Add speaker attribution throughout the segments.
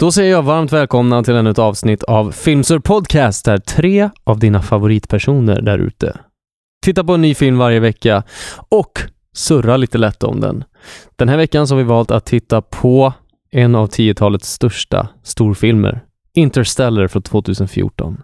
Speaker 1: Då säger jag varmt välkomna till ännu ett avsnitt av Filmsur Podcast där tre av dina favoritpersoner där ute tittar på en ny film varje vecka och surrar lite lätt om den. Den här veckan så har vi valt att titta på en av 10-talets största storfilmer, Interstellar från 2014.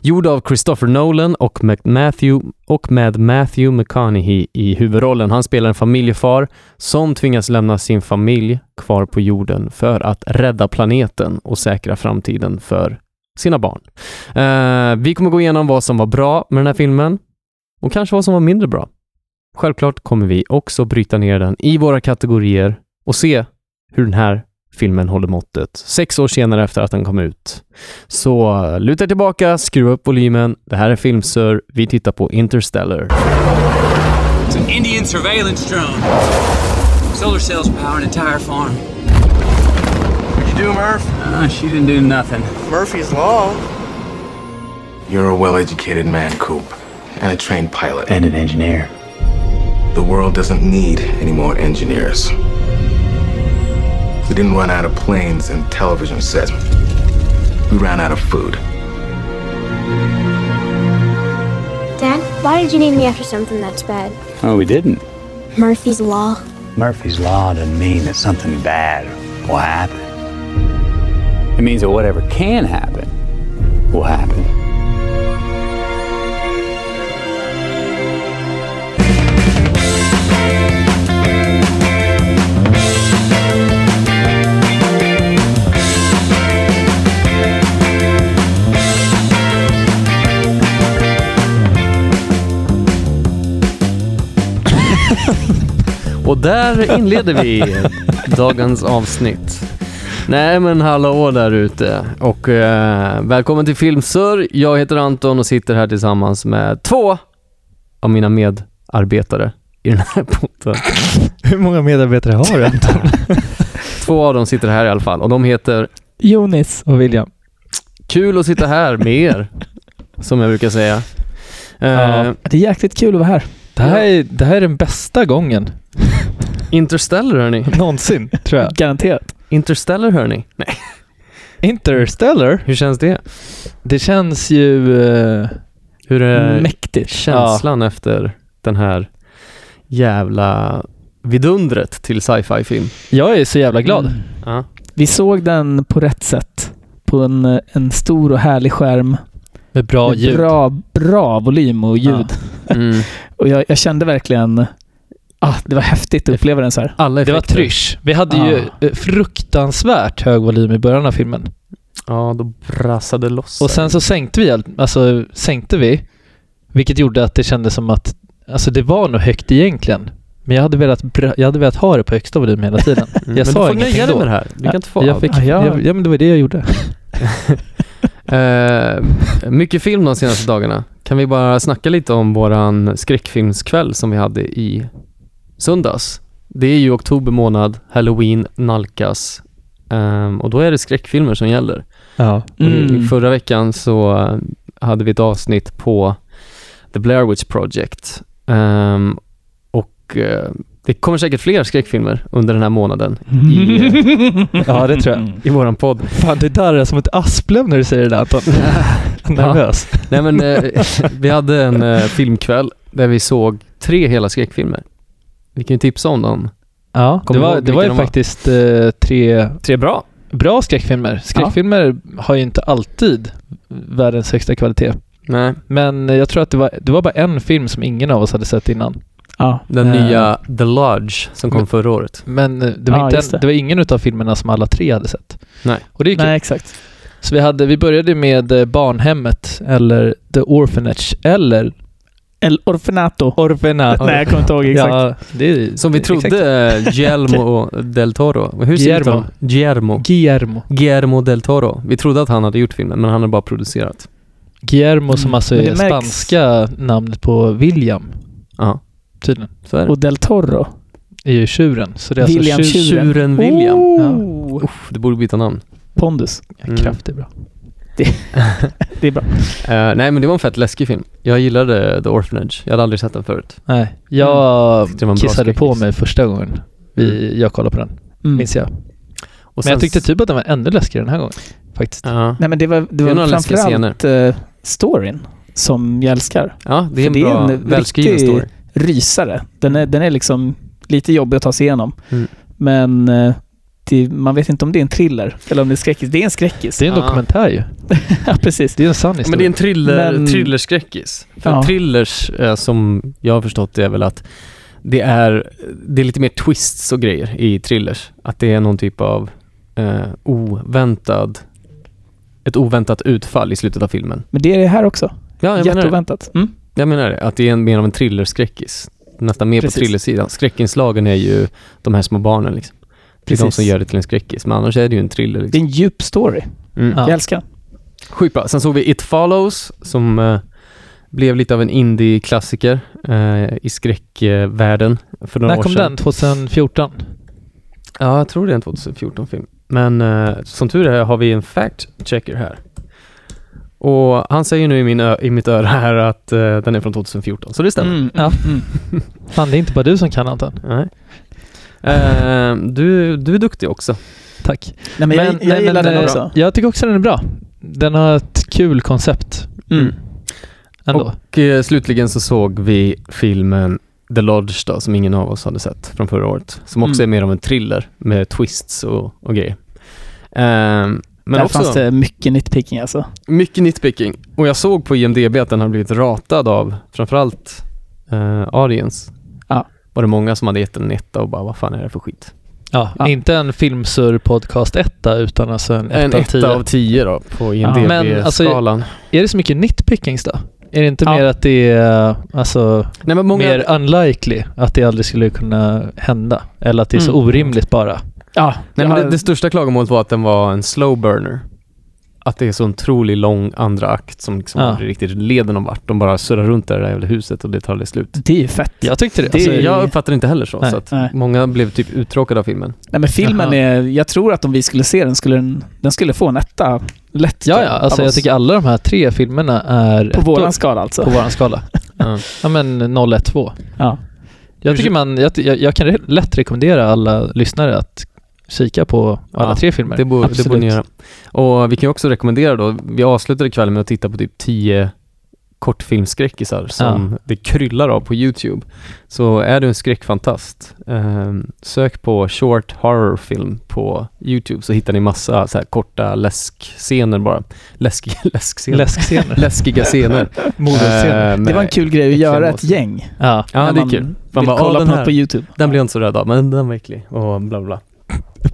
Speaker 1: Gjord av Christopher Nolan och, McMatthew, och med Matthew McConaughey i huvudrollen. Han spelar en familjefar som tvingas lämna sin familj kvar på jorden för att rädda planeten och säkra framtiden för sina barn. Eh, vi kommer gå igenom vad som var bra med den här filmen och kanske vad som var mindre bra. Självklart kommer vi också bryta ner den i våra kategorier och se hur den här filmen håller måttet sex år senare efter att den kom ut. Så eh, luta er tillbaka, skruva upp volymen. Det här är Filmsur. Vi tittar på Interstellar.
Speaker 2: It's an Indian surveillance drone. Solar cells power an entire farm.
Speaker 3: You do, Murph?
Speaker 2: Ah, she didn't do nothing.
Speaker 3: Murphy's Law.
Speaker 4: You're a well educated man, Coop, and a trained pilot.
Speaker 5: and an engineer.
Speaker 4: the world doesn't need any more engineers. We didn't run out of planes and television sets, we ran out of food.
Speaker 6: Dad, why did you name me after something that's bad?
Speaker 5: Oh, we didn't.
Speaker 6: Murphy's Law.
Speaker 5: Murphy's Law doesn't mean that something bad will happen. It means that whatever can happen will happen.
Speaker 1: Och där inleder vi dagens avsnitt. Nej men hallå där ute och eh, välkommen till Filmsur. Jag heter Anton och sitter här tillsammans med två av mina medarbetare i den här podden.
Speaker 7: Hur många medarbetare har du Anton?
Speaker 1: Två av dem sitter här i alla fall och de heter
Speaker 7: Jonis och William.
Speaker 1: Kul att sitta här med er, som jag brukar säga. Eh,
Speaker 7: Ja. Det är jäkligt kul att vara här. Det här är, det här är den bästa gången
Speaker 1: Interstellar hörni.
Speaker 7: någonsin, tror jag.
Speaker 8: Garanterat.
Speaker 1: Interstellar hörni. Nej.
Speaker 7: Interstellar,
Speaker 1: Hur känns det?
Speaker 7: det känns ju eh,
Speaker 1: Hur är
Speaker 7: mäktigt.
Speaker 1: känslan efter den här jävla vidundret till sci-fi film.
Speaker 7: Ja, jag är så jävla glad.
Speaker 8: Mm.
Speaker 1: Ja.
Speaker 8: Vi såg den på rätt sätt. På en, eh, en stor och härlig skärm.
Speaker 7: Med bra
Speaker 8: med
Speaker 7: ljud.
Speaker 8: Bra, bra volym och ljud.
Speaker 1: Mm.
Speaker 8: Och jag, jag kände verkligen... Ah, det var häftigt att uppleva den så här.
Speaker 1: Alla
Speaker 7: Det var
Speaker 1: effekter.
Speaker 7: trysch. Vi hade ju
Speaker 8: Ah.
Speaker 7: eh, fruktansvärt hög volym i början av filmen.
Speaker 1: Ja, då brassade loss.
Speaker 7: Och sen så sänkte vi, allt- alltså sänkte vi, vilket gjorde att det kändes som att, alltså det var nog högt egentligen. Men jag hade velat, bra- jag hade velat ha det på högsta volym hela tiden.
Speaker 1: Mm.
Speaker 7: jag
Speaker 1: men
Speaker 7: sa
Speaker 1: du får
Speaker 7: ingenting
Speaker 1: nöja dig
Speaker 7: då.
Speaker 1: med det här. Du kan inte få
Speaker 7: jag
Speaker 1: allt.
Speaker 7: fick,
Speaker 8: Ah, ja.
Speaker 7: jag, ja men det var det jag gjorde.
Speaker 1: Eh, mycket film de senaste dagarna. Kan vi bara snacka lite om våran skräckfilmskväll som vi hade i söndags? Det är ju oktober månad, halloween nalkas ehm, och då är det skräckfilmer som gäller.
Speaker 7: Ja.
Speaker 1: Och det-
Speaker 8: Mm.
Speaker 1: Förra veckan så eh, hade vi ett avsnitt på The Blair Witch Project Ehm, och eh, det kommer säkert fler skräckfilmer under den här månaden i, eh,
Speaker 7: ja, det tror jag.
Speaker 1: i våran podd.
Speaker 7: Mm. Fan, det där är som ett asplöv när du säger det där Anton. Nervös.
Speaker 1: Nej men eh, vi hade en eh, filmkväll där vi såg tre hela skräckfilmer. Vi kan ju tipsa om dem.
Speaker 7: Ja,
Speaker 1: Kommer
Speaker 7: det
Speaker 1: du
Speaker 7: var,
Speaker 1: ihåg
Speaker 7: det var ju
Speaker 1: vilka de var?
Speaker 7: faktiskt eh, tre
Speaker 1: Tre bra.
Speaker 7: bra skräckfilmer. Skräckfilmer har ju inte alltid världens högsta kvalitet.
Speaker 1: Nej,
Speaker 7: Men jag tror att det var, det var bara en film som ingen av oss hade sett innan.
Speaker 8: Ja.
Speaker 1: den
Speaker 7: Eh. Mm.
Speaker 1: nya The Lodge som kom
Speaker 7: Men-
Speaker 1: förra året.
Speaker 7: Men eh, det var,
Speaker 8: Ja,
Speaker 7: inte en,
Speaker 8: just
Speaker 7: det.
Speaker 8: det.
Speaker 7: var ingen av filmerna som alla tre hade sett.
Speaker 1: Nej.
Speaker 7: Och det är ju kul.
Speaker 8: Eh, Nej, exakt.
Speaker 7: Så vi, hade, vi började med eh, Barnhemmet, eller The Orphanage, eller
Speaker 8: El Orfanato.
Speaker 7: Orphanat.
Speaker 8: Nej, jag kommer inte ihåg exakt.
Speaker 7: Ja, det är,
Speaker 1: Som vi
Speaker 7: Exakt.
Speaker 1: trodde eh, Guillermo del Toro. Hur ser
Speaker 7: Guillermo.
Speaker 1: Guillermo. Guillermo.
Speaker 7: Guillermo.
Speaker 1: Guillermo del Toro. Vi trodde att han hade gjort filmen, men han har bara producerat.
Speaker 7: Guillermo som
Speaker 8: Mm.
Speaker 7: alltså
Speaker 8: Men
Speaker 7: är
Speaker 8: det märks-
Speaker 7: spanska namnet på William,
Speaker 1: Ja,
Speaker 7: tydligen.
Speaker 1: så är det.
Speaker 8: Och Del Toro.
Speaker 7: är ju tjuren. Så det är
Speaker 8: William
Speaker 7: alltså tjur-
Speaker 8: Tjur.
Speaker 1: Tjuren William.
Speaker 8: Oh.
Speaker 1: Uff, det borde byta namn.
Speaker 8: Pondus.
Speaker 1: Mm.
Speaker 7: Kraft är bra.
Speaker 8: Det är bra.
Speaker 1: Eh, nej, men det var en fett läskig film. Jag gillade The Orphanage. Jag hade aldrig sett den förut.
Speaker 7: Nej, jag
Speaker 8: Mm.
Speaker 1: Tyckte det var en bra
Speaker 7: kissade på
Speaker 1: skräckis.
Speaker 7: mig första gången vi, jag kollade på den,
Speaker 8: Mm.
Speaker 7: minns jag.
Speaker 1: Och
Speaker 7: Men jag
Speaker 1: sen-
Speaker 7: tyckte typ att den var ännu läskigare den här gången. Faktiskt.
Speaker 1: Ja,
Speaker 8: Nej men det var, det var
Speaker 1: några läskiga
Speaker 8: framförallt eh, storyn som jag älskar.
Speaker 1: ja det är
Speaker 8: För
Speaker 1: en
Speaker 8: det är
Speaker 1: bra,
Speaker 8: en
Speaker 1: välskriven
Speaker 8: riktig-
Speaker 1: story.
Speaker 8: Rysare. Den är, den är liksom lite jobbig att ta sig igenom.
Speaker 1: Mm.
Speaker 8: Men eh, det, man vet inte om det är en thriller eller om det är skräckis. Det är en skräckis.
Speaker 7: Det är en
Speaker 1: Ja.
Speaker 7: dokumentär ju.
Speaker 8: ja, precis.
Speaker 7: Det är en sann historia.
Speaker 1: Men det är en thriller,
Speaker 8: Men-
Speaker 1: thrillerskräckis. För
Speaker 8: Ja.
Speaker 1: thrillers, eh, som jag har förstått det, är väl att det är, det är lite mer twists och grejer i thrillers. Att det är någon typ av eh, oväntad, ett oväntat utfall i slutet av filmen.
Speaker 8: Men det är det här också.
Speaker 1: Ja, jag menar det.
Speaker 8: Jätteoväntat. Mm.
Speaker 1: Jag menar det, att det är en, mer av en thrillerskräckis. Nästan mer på
Speaker 8: Precis.
Speaker 1: thrillersidan. Skräckinslagen är ju de här små barnen liksom. Det är de
Speaker 8: Precis.
Speaker 1: som gör det till en skräckis, men annars är det ju en thriller.
Speaker 8: Det är
Speaker 1: Liksom.
Speaker 8: en djup story.
Speaker 1: Mm.
Speaker 7: Ja.
Speaker 8: Jag älskar den.
Speaker 1: Sjukt bra. Sen såg vi It Follows som eh, blev lite av en indie-klassiker eh, i skräckvärlden för några
Speaker 7: När
Speaker 1: år
Speaker 7: kom
Speaker 1: sedan.
Speaker 7: den? 2014?
Speaker 1: Ja, jag tror det är en 2014-film. Men eh, som tur är har vi en fact-checker här. Och han säger nu i, min ö- i mitt öra här att eh, den är från 2014, så det stämmer.
Speaker 8: Mm,
Speaker 7: Ja.
Speaker 8: mm.
Speaker 7: Fan, det är inte bara du som kan Anton.
Speaker 1: Nej. Eh, du, du är duktig också.
Speaker 7: Tack.
Speaker 8: Nej, men, jag, jag
Speaker 7: nej,
Speaker 8: gillar den
Speaker 7: eh,
Speaker 8: också.
Speaker 7: Jag tycker också den är bra. Den har ett kul koncept.
Speaker 1: Mm.
Speaker 7: Ändå.
Speaker 1: Och eh, slutligen så såg vi filmen The Lodge då, som ingen av oss hade sett från förra året. Som också
Speaker 8: Mm.
Speaker 1: är mer av en thriller med twists och, och grejer. Ehm, men
Speaker 8: Där
Speaker 1: också
Speaker 8: fanns det mycket nitpicking alltså.
Speaker 1: mycket nitpicking. Och jag såg på IMDB att den har blivit ratad av framförallt eh, Ariens.
Speaker 8: Ja.
Speaker 1: Var det många som hade gett den en etta och bara vad fan är det för skit?
Speaker 7: Ja,
Speaker 8: Ja.
Speaker 7: inte en filmsur podcast etta utan alltså en etta,
Speaker 1: en
Speaker 7: av tio.
Speaker 1: etta av tio då på
Speaker 7: Men, alltså,
Speaker 1: IMDB-skalan.
Speaker 7: Är det så mycket nitpickings då? Är det inte
Speaker 8: Ja.
Speaker 7: mer att det är alltså,
Speaker 1: Nej men många...
Speaker 7: mer unlikely att det aldrig skulle kunna hända? Eller att det är så
Speaker 8: Mm.
Speaker 7: orimligt bara?
Speaker 8: Ja,
Speaker 1: Nej, men
Speaker 8: jag-
Speaker 1: det, det största klagomålet var att den var en slow burner. Att det är så otroligt lång andra akt som liksom
Speaker 7: Ja.
Speaker 1: aldrig riktigt leder någon vart. De bara surrar runt i det där jävla huset och det tar aldrig slut.
Speaker 8: det är ju fett.
Speaker 7: Jag tyckte det.
Speaker 8: Det-
Speaker 1: Alltså,
Speaker 7: alltså,
Speaker 1: jag uppfattar inte heller så.
Speaker 7: Nej.
Speaker 1: så att
Speaker 8: Nej.
Speaker 1: Många blev typ uttråkade av filmen.
Speaker 8: Nej, men filmen
Speaker 7: Jaha.
Speaker 8: är... Jag tror att om vi skulle se den skulle den, den skulle få en etta. Lätt.
Speaker 7: ja,
Speaker 8: tror
Speaker 7: ja. Alltså,
Speaker 8: av
Speaker 7: jag
Speaker 8: oss.
Speaker 7: tycker alla de här tre filmerna är
Speaker 8: På
Speaker 7: ettor
Speaker 8: våran skala alltså.
Speaker 7: på våran skala.
Speaker 1: Ja.
Speaker 7: Ja, men 012.
Speaker 8: Ja.
Speaker 7: Jag, tycker man, jag, jag, jag kan re- lätt rekommendera alla lyssnare att kika på alla
Speaker 1: Ja,
Speaker 7: tre filmer.
Speaker 1: Det, borde, det
Speaker 7: Absolut.
Speaker 1: borde ni göra. Och vi kan ju också rekommendera då, vi avslutade kvällen med att titta på typ 10 kortfilmsskräckisar som det kryllar av på YouTube. Så är du en skräckfantast, eh, sök på short horror film på YouTube så hittar ni massa så här korta läskscener bara. Läskiga läskscener.
Speaker 7: Läskscener.
Speaker 1: Läskiga scener.
Speaker 7: Mordenscener.
Speaker 1: Eh,
Speaker 8: Det var en
Speaker 1: med-
Speaker 8: kul grej att
Speaker 1: Action
Speaker 8: göra ett
Speaker 1: Monster.
Speaker 8: gäng.
Speaker 7: Ja.
Speaker 1: Ja,
Speaker 8: när
Speaker 1: det är
Speaker 8: man
Speaker 1: kul. Man
Speaker 8: vill
Speaker 1: bara, "Åh,
Speaker 8: kolla
Speaker 1: den
Speaker 8: på
Speaker 1: här."
Speaker 8: något på YouTube.
Speaker 1: Den blev jag inte så rädd av, men den var äcklig och bla bla.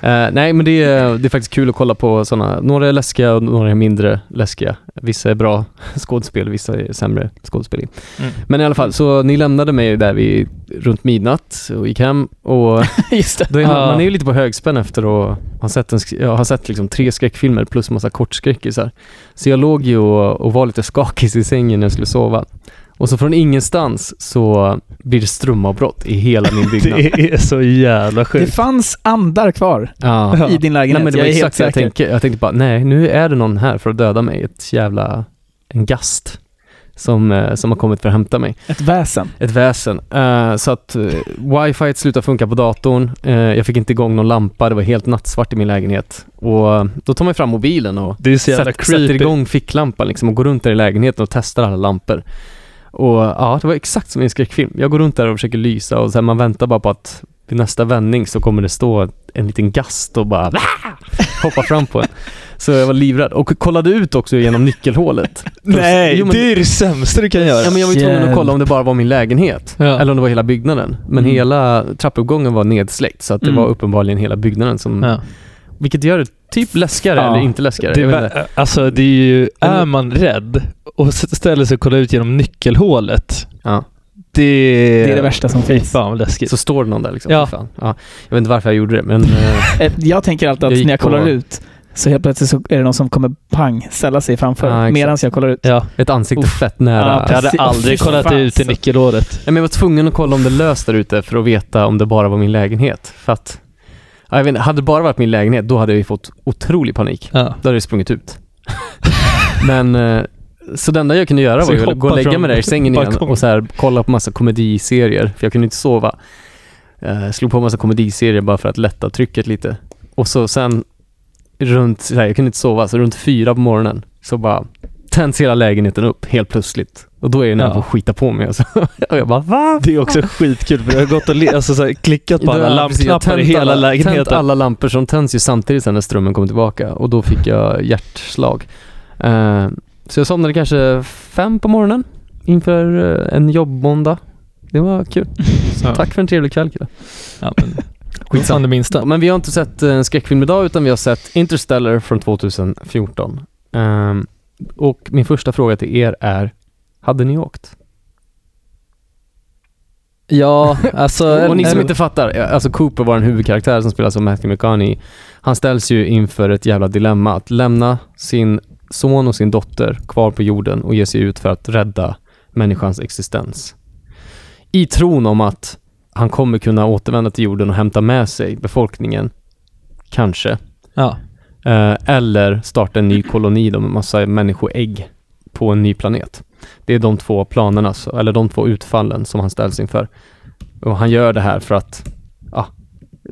Speaker 1: Eh, nej, men det är, det är faktiskt kul att kolla på sådana. Några är läskiga och några är mindre läskiga. Vissa är bra skådespel, vissa är sämre skådespel.
Speaker 7: Mm.
Speaker 1: Men i alla fall, så ni lämnade mig där vid runt midnatt och gick hem och
Speaker 8: Just det.
Speaker 1: då är man,
Speaker 7: Ja.
Speaker 1: man är ju lite på högspänn efter att ha sett, en, sk- jag har sett liksom tre skräckfilmer plus massa kortskräckisar. Så jag låg ju och, och var lite skakig i sängen när jag skulle sova. Och så från ingenstans så blir det strömavbrott i hela min byggnad.
Speaker 7: Det är så jävla
Speaker 8: Det
Speaker 7: sjukt.
Speaker 8: fanns andar kvar
Speaker 1: ja.
Speaker 8: i din
Speaker 1: Nej,
Speaker 8: lägenhet.
Speaker 1: men det var
Speaker 8: jag är helt
Speaker 1: exakt det jag
Speaker 8: säker.
Speaker 1: tänkte. Jag tänkte bara, nej, nu är det någon här för att döda mig. Ett jävla, en gast som, eh, som har kommit för att hämta mig.
Speaker 8: Ett väsen.
Speaker 1: Ett väsen. Eh, så att eh, wifi slutade funka på datorn. Eh, jag fick inte igång någon lampa. Det var helt nattsvart i min lägenhet. Och eh, då tar man fram mobilen och
Speaker 7: Det är så jävla
Speaker 1: sätter, sätter igång ficklampan liksom och går runt där i lägenheten och testar alla lampor. Och ja, det var exakt som i en skräckfilm. Jag går runt där och försöker lysa och sen man väntar bara på att vid nästa vändning så kommer det stå en liten gast och bara "Va?" hoppa fram på en. Så jag var livrädd och kollade ut också genom nyckelhålet.
Speaker 7: Nej,
Speaker 1: Jo, men-
Speaker 7: det är det sämsta du kan göra.
Speaker 1: Ja, men jag var ju tvungen att kolla om det bara var min lägenhet
Speaker 7: Ja.
Speaker 1: eller om det var hela byggnaden. Men
Speaker 8: Mm.
Speaker 1: hela trappuppgången var nedsläckt så att det
Speaker 8: Mm.
Speaker 1: var uppenbarligen hela byggnaden som,
Speaker 7: Ja.
Speaker 1: vilket gör det typ läskigare
Speaker 8: Ja.
Speaker 1: eller inte läskigare.
Speaker 7: Det
Speaker 1: jag vet inte.
Speaker 7: är, alltså, det är ju... Är man rädd och s- ställer sig och kollar ut genom nyckelhålet.
Speaker 1: Ja.
Speaker 7: Det är
Speaker 8: Det är det värsta som finns.
Speaker 7: Fan vad läskigt.
Speaker 1: Så står det någon där liksom.
Speaker 7: Ja.
Speaker 1: Ja. Fan. Ja. Jag vet inte varför jag gjorde det, men eh,
Speaker 8: Eh, Jag tänker alltid att
Speaker 1: Jag gick
Speaker 8: när jag kollar
Speaker 1: på-
Speaker 8: ut så helt plötsligt så är det någon som kommer pang ställa sig framför
Speaker 1: Ja, exakt.
Speaker 8: medan jag kollar ut.
Speaker 7: Ja.
Speaker 1: ett ansikte fett nära.
Speaker 8: Ja,
Speaker 7: Jag hade
Speaker 8: Precis.
Speaker 7: aldrig
Speaker 8: Fy
Speaker 7: kollat
Speaker 8: fan,
Speaker 7: ut i
Speaker 8: alltså.
Speaker 7: nyckelhålet.
Speaker 1: Nej, men jag var tvungen att kolla om det löst där ute för att veta om det bara var min lägenhet. För att, ja, jag vet inte, hade det bara varit min lägenhet, då hade jag ju fått otrolig panik.
Speaker 7: Ja.
Speaker 1: Då hade jag sprungit ut. men, eh, så det enda jag kunde göra
Speaker 7: Så
Speaker 1: var ju att
Speaker 7: hoppa
Speaker 1: gå och lägga
Speaker 7: från
Speaker 1: mig där i sängen igen
Speaker 7: balkongen.
Speaker 1: och så här, kolla på massa komediserier, för jag kunde inte sova. Eh, slog på massa komediserier bara för att lätta trycket lite. Och så sen runt, så här, jag kunde inte sova, så runt fyra på morgonen så bara tänds hela lägenheten upp helt plötsligt. Och då är jag nära
Speaker 7: Ja.
Speaker 1: på att skita på mig alltså. Och jag bara va?
Speaker 7: Det är också skitkul för jag har gått och le- alltså, så här, klickat på
Speaker 1: Då har
Speaker 7: alla
Speaker 1: jag precis- jag har
Speaker 7: lampknappar i
Speaker 1: tänt
Speaker 7: hela
Speaker 1: alla- Tänt
Speaker 7: lägenheten.
Speaker 1: alla lampor som tänds ju samtidigt sen när strömmen kom tillbaka och då fick jag hjärtslag. Eh, så jag somnade kanske fem på morgonen inför eh, en jobbmåndag. Det var kul.
Speaker 7: Ja.
Speaker 1: Tack för en trevlig kväll killar.
Speaker 7: Ja, men, Skitsamma det minsta.
Speaker 1: Men vi har inte sett eh, en skräckfilm idag utan vi har sett Interstellar från 2014. Ehm, och min första fråga till er är, hade ni åkt?
Speaker 7: Ja, alltså...
Speaker 1: Och ni som inte fattar, eh, alltså Cooper, vår huvudkaraktär som spelas av Matthew McConaughey, han ställs ju inför ett jävla dilemma. Att lämna sin son och sin dotter kvar på jorden och ge sig ut för att rädda människans existens. I tron om att han kommer kunna återvända till jorden och hämta med sig befolkningen, kanske.
Speaker 7: Ja.
Speaker 1: Eh, eller starta en ny koloni då med massa människoägg på en ny planet. Det är de två planerna, så- eller de två utfallen som han ställs inför. Och han gör det här för att ja,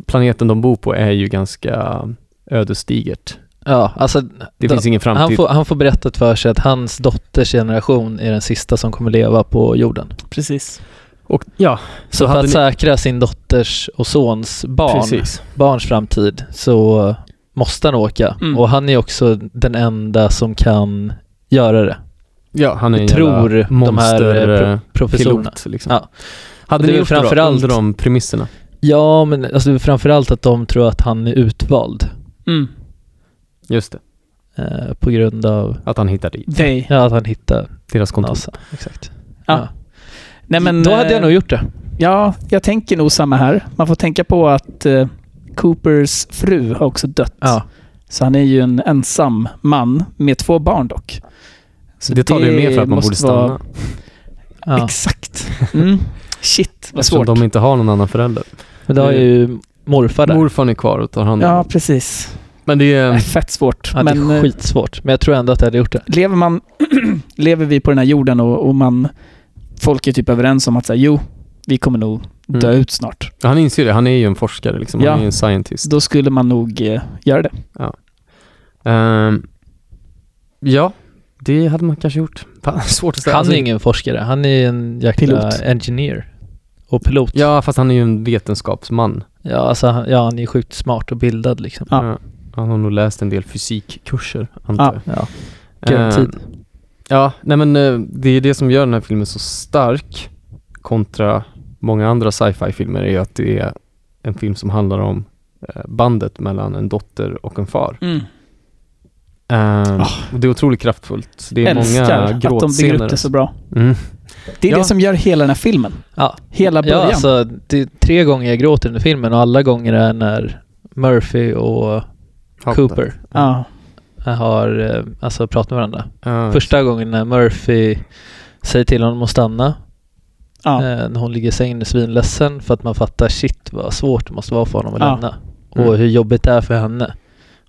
Speaker 1: planeten de bor på är ju ganska ödesdigert.
Speaker 7: Ja, alltså
Speaker 1: Det
Speaker 7: Då-
Speaker 1: finns ingen framtid.
Speaker 7: han får, han får berättat för sig att hans dotters generation är den sista som kommer leva på jorden.
Speaker 8: Precis.
Speaker 1: Och, ja,
Speaker 7: Så,
Speaker 1: Så
Speaker 7: för
Speaker 1: hade
Speaker 7: att
Speaker 1: ni-
Speaker 7: säkra sin dotters och sons barn,
Speaker 1: precis.
Speaker 7: barns framtid så måste han åka.
Speaker 8: Mm.
Speaker 7: Och han är också den enda som kan göra det.
Speaker 1: Ja, han är en
Speaker 7: Tror
Speaker 1: jävla
Speaker 7: de här, eh,
Speaker 1: monster, eh,
Speaker 7: Professorerna.
Speaker 1: pilot, liksom.
Speaker 7: Ja.
Speaker 1: Hade
Speaker 7: Det
Speaker 1: ni
Speaker 7: är
Speaker 1: gjort det då,
Speaker 7: framförallt-
Speaker 1: under de premisserna?
Speaker 7: Ja, men alltså, det är framförallt att de tror att han är utvald
Speaker 8: Mm.
Speaker 1: Just det,
Speaker 7: eh, på grund av
Speaker 1: att han hittar dit.
Speaker 8: They.
Speaker 7: ja, att han hittar
Speaker 1: Deras kontor.
Speaker 7: NASA. Exakt.
Speaker 8: Ja. Nej, men, eh,
Speaker 7: Då hade jag nog gjort det.
Speaker 8: Ja, jag tänker nog samma här. Man får tänka på att eh, Coopers fru har också dött. Så han är ju en ensam man med två barn dock. Så
Speaker 1: det talar ju mer för att man
Speaker 8: måste
Speaker 1: borde stanna.
Speaker 8: vara-
Speaker 7: ja.
Speaker 8: Exakt. Mm. Shit, vad
Speaker 1: eftersom
Speaker 8: svårt.
Speaker 1: de inte har någon annan förälder.
Speaker 7: Men då har ju morfar där.
Speaker 1: Morfar är kvar och tar hand om
Speaker 8: Ja,
Speaker 1: honom.
Speaker 8: precis.
Speaker 1: Men det är...
Speaker 8: Äh, Fett svårt.
Speaker 7: Ja,
Speaker 8: men
Speaker 7: det är
Speaker 8: eh,
Speaker 7: skitsvårt. Men jag tror ändå att jag hade gjort det.
Speaker 8: lever, man, lever vi på den här jorden och, och man, folk är typ överens om att säga, jo, vi kommer nog dö
Speaker 1: Mm.
Speaker 8: ut snart.
Speaker 1: Han inser det, han är ju en forskare liksom. Han
Speaker 8: Ja.
Speaker 1: är ju en scientist.
Speaker 8: Då skulle man nog eh, göra det.
Speaker 1: Ehm, ja, det hade man kanske gjort. Fan, Svårt att ställa.
Speaker 7: Han
Speaker 1: Alltså,
Speaker 7: är ingen forskare, han är en jäkla
Speaker 8: Pilot.
Speaker 7: engineer. Och pilot.
Speaker 1: Ja, fast han är ju en vetenskapsman.
Speaker 7: ja, alltså, han- ja han är sjukt smart och bildad liksom.
Speaker 8: Ja.
Speaker 1: Ja, Han har nog läst en del fysikkurser, antar
Speaker 8: Ja.
Speaker 1: jag.
Speaker 7: Ja.
Speaker 1: Ehm,
Speaker 7: Garantid.
Speaker 1: ja, nej men eh, det är det som gör den här filmen så stark kontra många andra sci-fi filmer är ju att det är en film som handlar om eh, bandet mellan en dotter och en far. Ehm, och det är otroligt kraftfullt. Det är
Speaker 8: Älskar
Speaker 1: många
Speaker 8: att de bygger upp
Speaker 1: gråtscener.
Speaker 8: det så bra.
Speaker 1: Mm.
Speaker 8: Det är
Speaker 1: Ja.
Speaker 8: det som gör hela den här filmen.
Speaker 7: Ja.
Speaker 8: Hela
Speaker 7: ja,
Speaker 8: början.
Speaker 7: alltså det är tre gånger jag gråter under filmen och alla gånger är när Murphy och Cooper
Speaker 8: Ja.
Speaker 7: har eh, alltså, pratat med varandra.
Speaker 1: Ja.
Speaker 7: Första gången när Murphy säger till honom att stanna
Speaker 8: Ja.
Speaker 7: eh, när hon ligger i sängen och är svinledsen för att man fattar shit vad svårt det måste vara för honom att
Speaker 8: Ja.
Speaker 7: lämna.
Speaker 1: Mm.
Speaker 7: Och hur jobbigt det är för henne.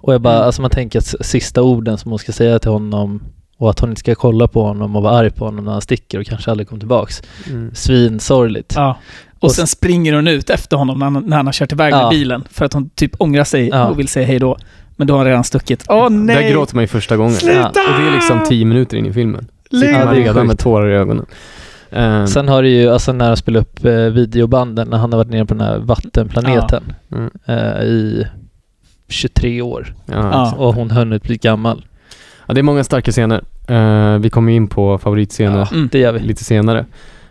Speaker 7: Och jag bara,
Speaker 8: Mm.
Speaker 7: alltså man tänker att s- sista orden som hon ska säga till honom och att hon inte ska kolla på honom och vara arg på honom när han sticker och kanske aldrig kommer tillbaks.
Speaker 1: Mm.
Speaker 7: Svinsorgligt.
Speaker 8: Ja. Och sen springer hon ut efter honom när han, när han har kört iväg
Speaker 7: Ja.
Speaker 8: med bilen. För att hon typ ångrar sig
Speaker 7: Ja.
Speaker 8: och vill säga hej då. Men då har han redan stuckit. Åh nej!
Speaker 1: Där gråter man ju första gången.
Speaker 8: Sluta!
Speaker 1: Ja. Och det är liksom tio minuter in i filmen.
Speaker 8: Lugn!
Speaker 1: Sitter
Speaker 7: Ja,
Speaker 1: man
Speaker 7: det är
Speaker 1: redan
Speaker 7: sjukt.
Speaker 1: med tårar i ögonen. Ehm,
Speaker 7: Sen har det ju, alltså när han spelar upp eh, videobanden, när han har varit nere på den här vattenplaneten
Speaker 1: Mm.
Speaker 7: eh, i 23 år
Speaker 1: ja,
Speaker 8: Ja.
Speaker 1: exakt.
Speaker 7: och hon hunnit bli gammal.
Speaker 1: ja, det är många starka scener. Ehm, vi kommer ju in på favoritscener
Speaker 7: Ja, det gör vi.
Speaker 1: lite senare.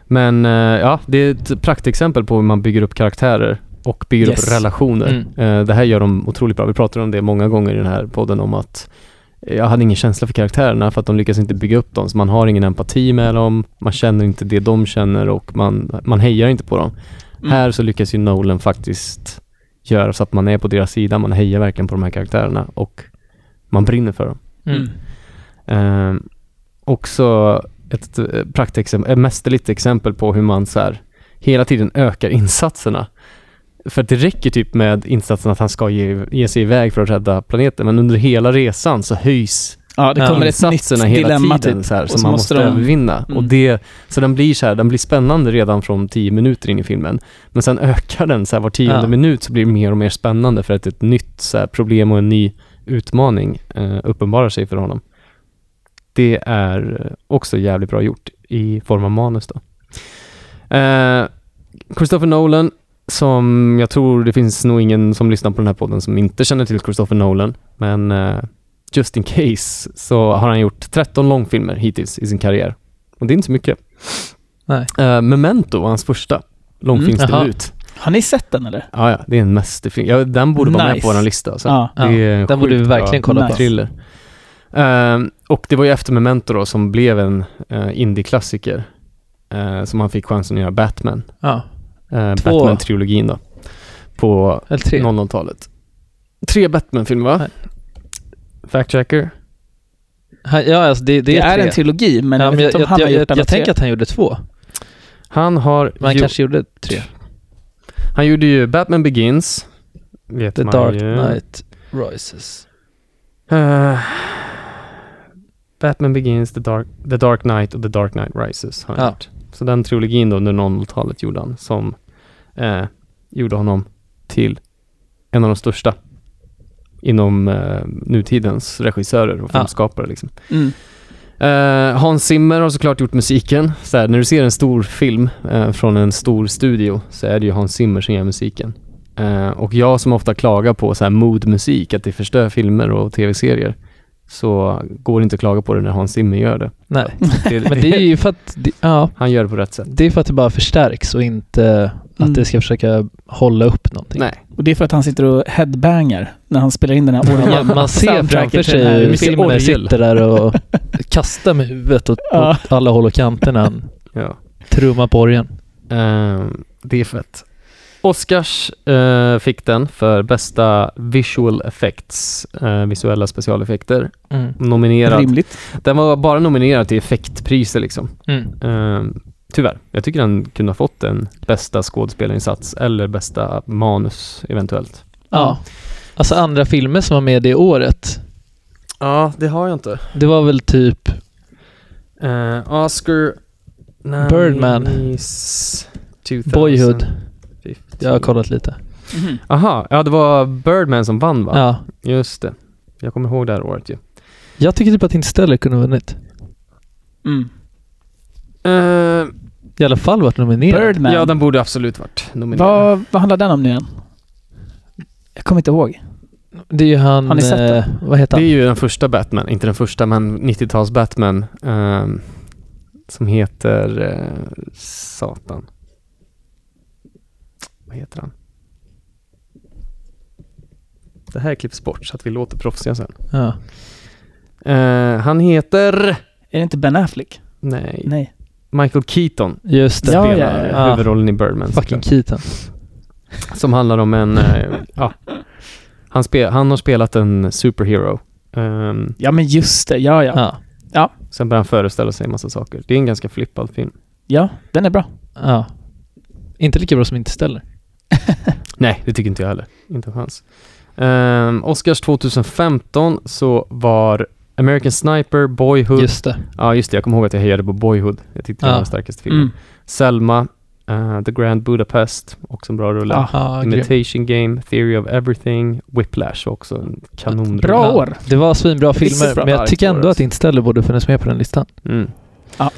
Speaker 1: Men eh, ja, det är ett praktexempel på hur man bygger upp karaktärer och bygger
Speaker 8: Yes. Mm.
Speaker 1: upp relationer. Eh, det här gör de otroligt bra. Vi pratar om det många gånger i den här podden om att eh, jag hade ingen känsla för karaktärerna för att de lyckas inte bygga upp dem. Så man har ingen empati med dem, man känner inte det de känner och man, man hejar inte på dem.
Speaker 8: Mm.
Speaker 1: Här så lyckas ju Nolan faktiskt göra så att man är på deras sida, man hejar verkligen på de här karaktärerna och man brinner för dem.
Speaker 7: Mm.
Speaker 1: Eh, också ett eh, praktexempel, ett mästerligt exempel på hur man så här, hela tiden ökar insatserna. För att det räcker typ med insatsen att han ska ge, ge sig iväg för att rädda planeten, men under hela resan så höjs
Speaker 8: Ja, det
Speaker 7: Ja,
Speaker 8: kommer ett nytt
Speaker 1: insatserna Ehm, hela
Speaker 8: dilemma
Speaker 1: tiden
Speaker 8: typ.
Speaker 1: så här,
Speaker 8: Och
Speaker 1: som
Speaker 8: så
Speaker 1: man
Speaker 8: måste
Speaker 1: måste,
Speaker 8: de-
Speaker 1: övervinna. Och
Speaker 8: Mm.
Speaker 1: det, så den blir, så här, den blir spännande redan från tio minuter in i filmen. Men sen ökar den så här, var tionde
Speaker 7: Ja.
Speaker 1: minut så blir det mer och mer spännande för att ett nytt så här, problem och en ny utmaning eh, uppenbarar sig för honom. Det är också jävligt bra gjort i form av manus då. Eh, Christopher Nolan, som jag tror det finns nog ingen som lyssnar på den här podden som inte känner till Christopher Nolan, men eh, just in case så har han gjort 13 långfilmer hittills i sin karriär. Och det är inte så mycket.
Speaker 7: Nej. Mm,
Speaker 1: Eh, Memento var hans första långfilmsdebut.
Speaker 8: Har ni sett den eller?
Speaker 1: ja, ja, det är en mästerfilm. Ja, den borde vara med
Speaker 8: Nice.
Speaker 1: på vår lista. Alltså.
Speaker 8: Ja.
Speaker 7: Ja,
Speaker 1: Det är en
Speaker 7: den borde vi
Speaker 1: sjukt
Speaker 7: verkligen
Speaker 1: bra
Speaker 7: kolla på.
Speaker 1: Thriller. Ehm, och det var ju efter Memento då som blev en eh, indie-klassiker. eh, som han fick chansen att göra Batman.
Speaker 7: Ja,
Speaker 1: Eh,
Speaker 7: Två.
Speaker 1: Batman-trilogin då. På
Speaker 7: eller tre.
Speaker 1: 00-talet. Tre Batman-filmer va?
Speaker 7: Nej.
Speaker 1: Fact checker.
Speaker 7: Han- Ja, alltså det, det,
Speaker 8: Det, är,
Speaker 7: tre.
Speaker 8: en trilogi, men
Speaker 7: ja,
Speaker 8: jag
Speaker 7: men
Speaker 8: vet
Speaker 7: jag,
Speaker 8: inte om
Speaker 7: jag,
Speaker 8: han
Speaker 7: jag,
Speaker 8: har gjort
Speaker 7: jag,
Speaker 8: alla
Speaker 7: jag
Speaker 8: tre.
Speaker 7: tänker att han gjorde två.
Speaker 1: Han har...
Speaker 7: Men han
Speaker 1: gjort-
Speaker 7: kanske gjorde tre.
Speaker 1: han gjorde ju Batman Begins. Vet
Speaker 7: The
Speaker 1: man
Speaker 7: Dark
Speaker 1: ju.
Speaker 7: Knight Rises.
Speaker 1: Eh, Batman Begins, The Dark, The Dark Knight och The Dark Knight Rises har han
Speaker 7: Ja.
Speaker 1: gjort. Så den trilogin då under 00-talet gjorde han som eh, gjorde honom till en av de största inom eh, nutidens regissörer och
Speaker 7: Ja.
Speaker 1: filmskapare. Liksom.
Speaker 8: Mm.
Speaker 1: Eh, Hans Zimmer har såklart gjort musiken. Så här, när du ser en stor film eh, från en stor studio så är det ju Hans Zimmer som gör musiken. Eh, och jag som ofta klagar på så här moodmusik, att det förstör filmer och tv-serier, så går det inte att klaga på det när Hans Zimmer gör det.
Speaker 7: Nej,
Speaker 1: det,
Speaker 7: men det är ju för att... det- Ja,
Speaker 1: Han gör det på rätt sätt.
Speaker 7: det är för att det bara förstärks och inte att
Speaker 8: Mm.
Speaker 7: det ska försöka hålla upp någonting.
Speaker 1: Nej.
Speaker 8: Och det är för att han sitter och headbangar när han spelar in den här
Speaker 7: Ja,
Speaker 8: orangea
Speaker 7: man ser
Speaker 8: soundtracken
Speaker 7: framför
Speaker 8: till den här
Speaker 7: sig hur
Speaker 1: mycket
Speaker 7: Zimmer
Speaker 1: orgel.
Speaker 7: sitter där och kastar med huvudet åt,
Speaker 8: Ja.
Speaker 7: åt alla håll och kanter när han
Speaker 1: Ja.
Speaker 7: trummar på orgeln.
Speaker 1: Eh, det är fett. Oscars eh, fick den för bästa visual effects, eh, visuella specialeffekter.
Speaker 7: Mm.
Speaker 1: Nominerad
Speaker 8: Rimligt.
Speaker 1: Den var bara nominerad till effektpriser liksom.
Speaker 7: Mm.
Speaker 1: Ehm, tyvärr. Jag tycker den kunde ha fått den bästa skådespelarinsats eller bästa manus eventuellt.
Speaker 7: Ja. Alltså andra filmer som var med det året.
Speaker 1: Ja, det har jag inte.
Speaker 7: Det var väl typ...
Speaker 1: Eh, Oscar...
Speaker 7: Birdman.
Speaker 1: 2000.
Speaker 7: Boyhood. Jag har kollat lite. Mm.
Speaker 1: Aha, ja det var Birdman som vann va?
Speaker 7: Ja.
Speaker 1: Just det. Jag kommer ihåg det här året ju.
Speaker 7: Jag tycker typ att Interstellar kunde ha vunnit.
Speaker 8: Mm.
Speaker 1: Ehm,
Speaker 7: I alla fall varit nominerad.
Speaker 8: Birdman.
Speaker 1: ja, den borde absolut varit nominerad.
Speaker 8: vad, vad handlar den om nu igen? Jag kommer inte ihåg.
Speaker 7: Det är ju han...
Speaker 8: Har ni sett den?
Speaker 7: eh, vad heter
Speaker 1: Det är
Speaker 7: han?
Speaker 1: ju den första Batman, inte den första men 90-tals Batman ehm, som heter eh, Satan. Vad heter han? Det här klipps bort så att vi låter proffsiga sen.
Speaker 7: Ja.
Speaker 1: Eh, han heter...
Speaker 8: Är det inte Ben Affleck?
Speaker 1: Nej.
Speaker 8: Nej.
Speaker 1: Michael Keaton
Speaker 7: Just det.
Speaker 8: Ja,
Speaker 1: spelar
Speaker 8: ja,
Speaker 7: ja.
Speaker 1: huvudrollen i Birdman.
Speaker 7: Fucking
Speaker 1: såklart.
Speaker 7: Keaton.
Speaker 1: Som handlar om en... eh, ja. han, spe- han har spelat en superhero. Ehm,
Speaker 8: Ja, men just det. Ja, ja.
Speaker 7: Ja.
Speaker 1: sen börjar han föreställa sig en massa saker. Det är en ganska flippad film.
Speaker 8: Ja, den är bra.
Speaker 7: ja. Inte lika bra som Interstellar.
Speaker 1: Nej, det tycker inte jag heller. Inte en chans. Ehm, Oscars 2015 så var American Sniper, Boyhood.
Speaker 7: Just det.
Speaker 1: Ja, just det. Jag kommer ihåg att jag hejade på Boyhood. Jag tyckte det var
Speaker 7: Ja.
Speaker 1: den starkaste filmen.
Speaker 8: Mm.
Speaker 1: Selma, eh, The Grand Budapest, också en bra rulle.
Speaker 7: Aha, Ah, grym.
Speaker 1: Imitation Game, Theory of Everything, Whiplash var också en kanonrulle.
Speaker 8: Bra år.
Speaker 7: Det var svinbra
Speaker 1: Riktigt
Speaker 7: filmer,
Speaker 1: bra
Speaker 7: men jag tycker
Speaker 1: år,
Speaker 7: ändå att
Speaker 1: alltså.
Speaker 7: Interstellar borde finnas med på den listan.
Speaker 1: Mm.
Speaker 8: Ja.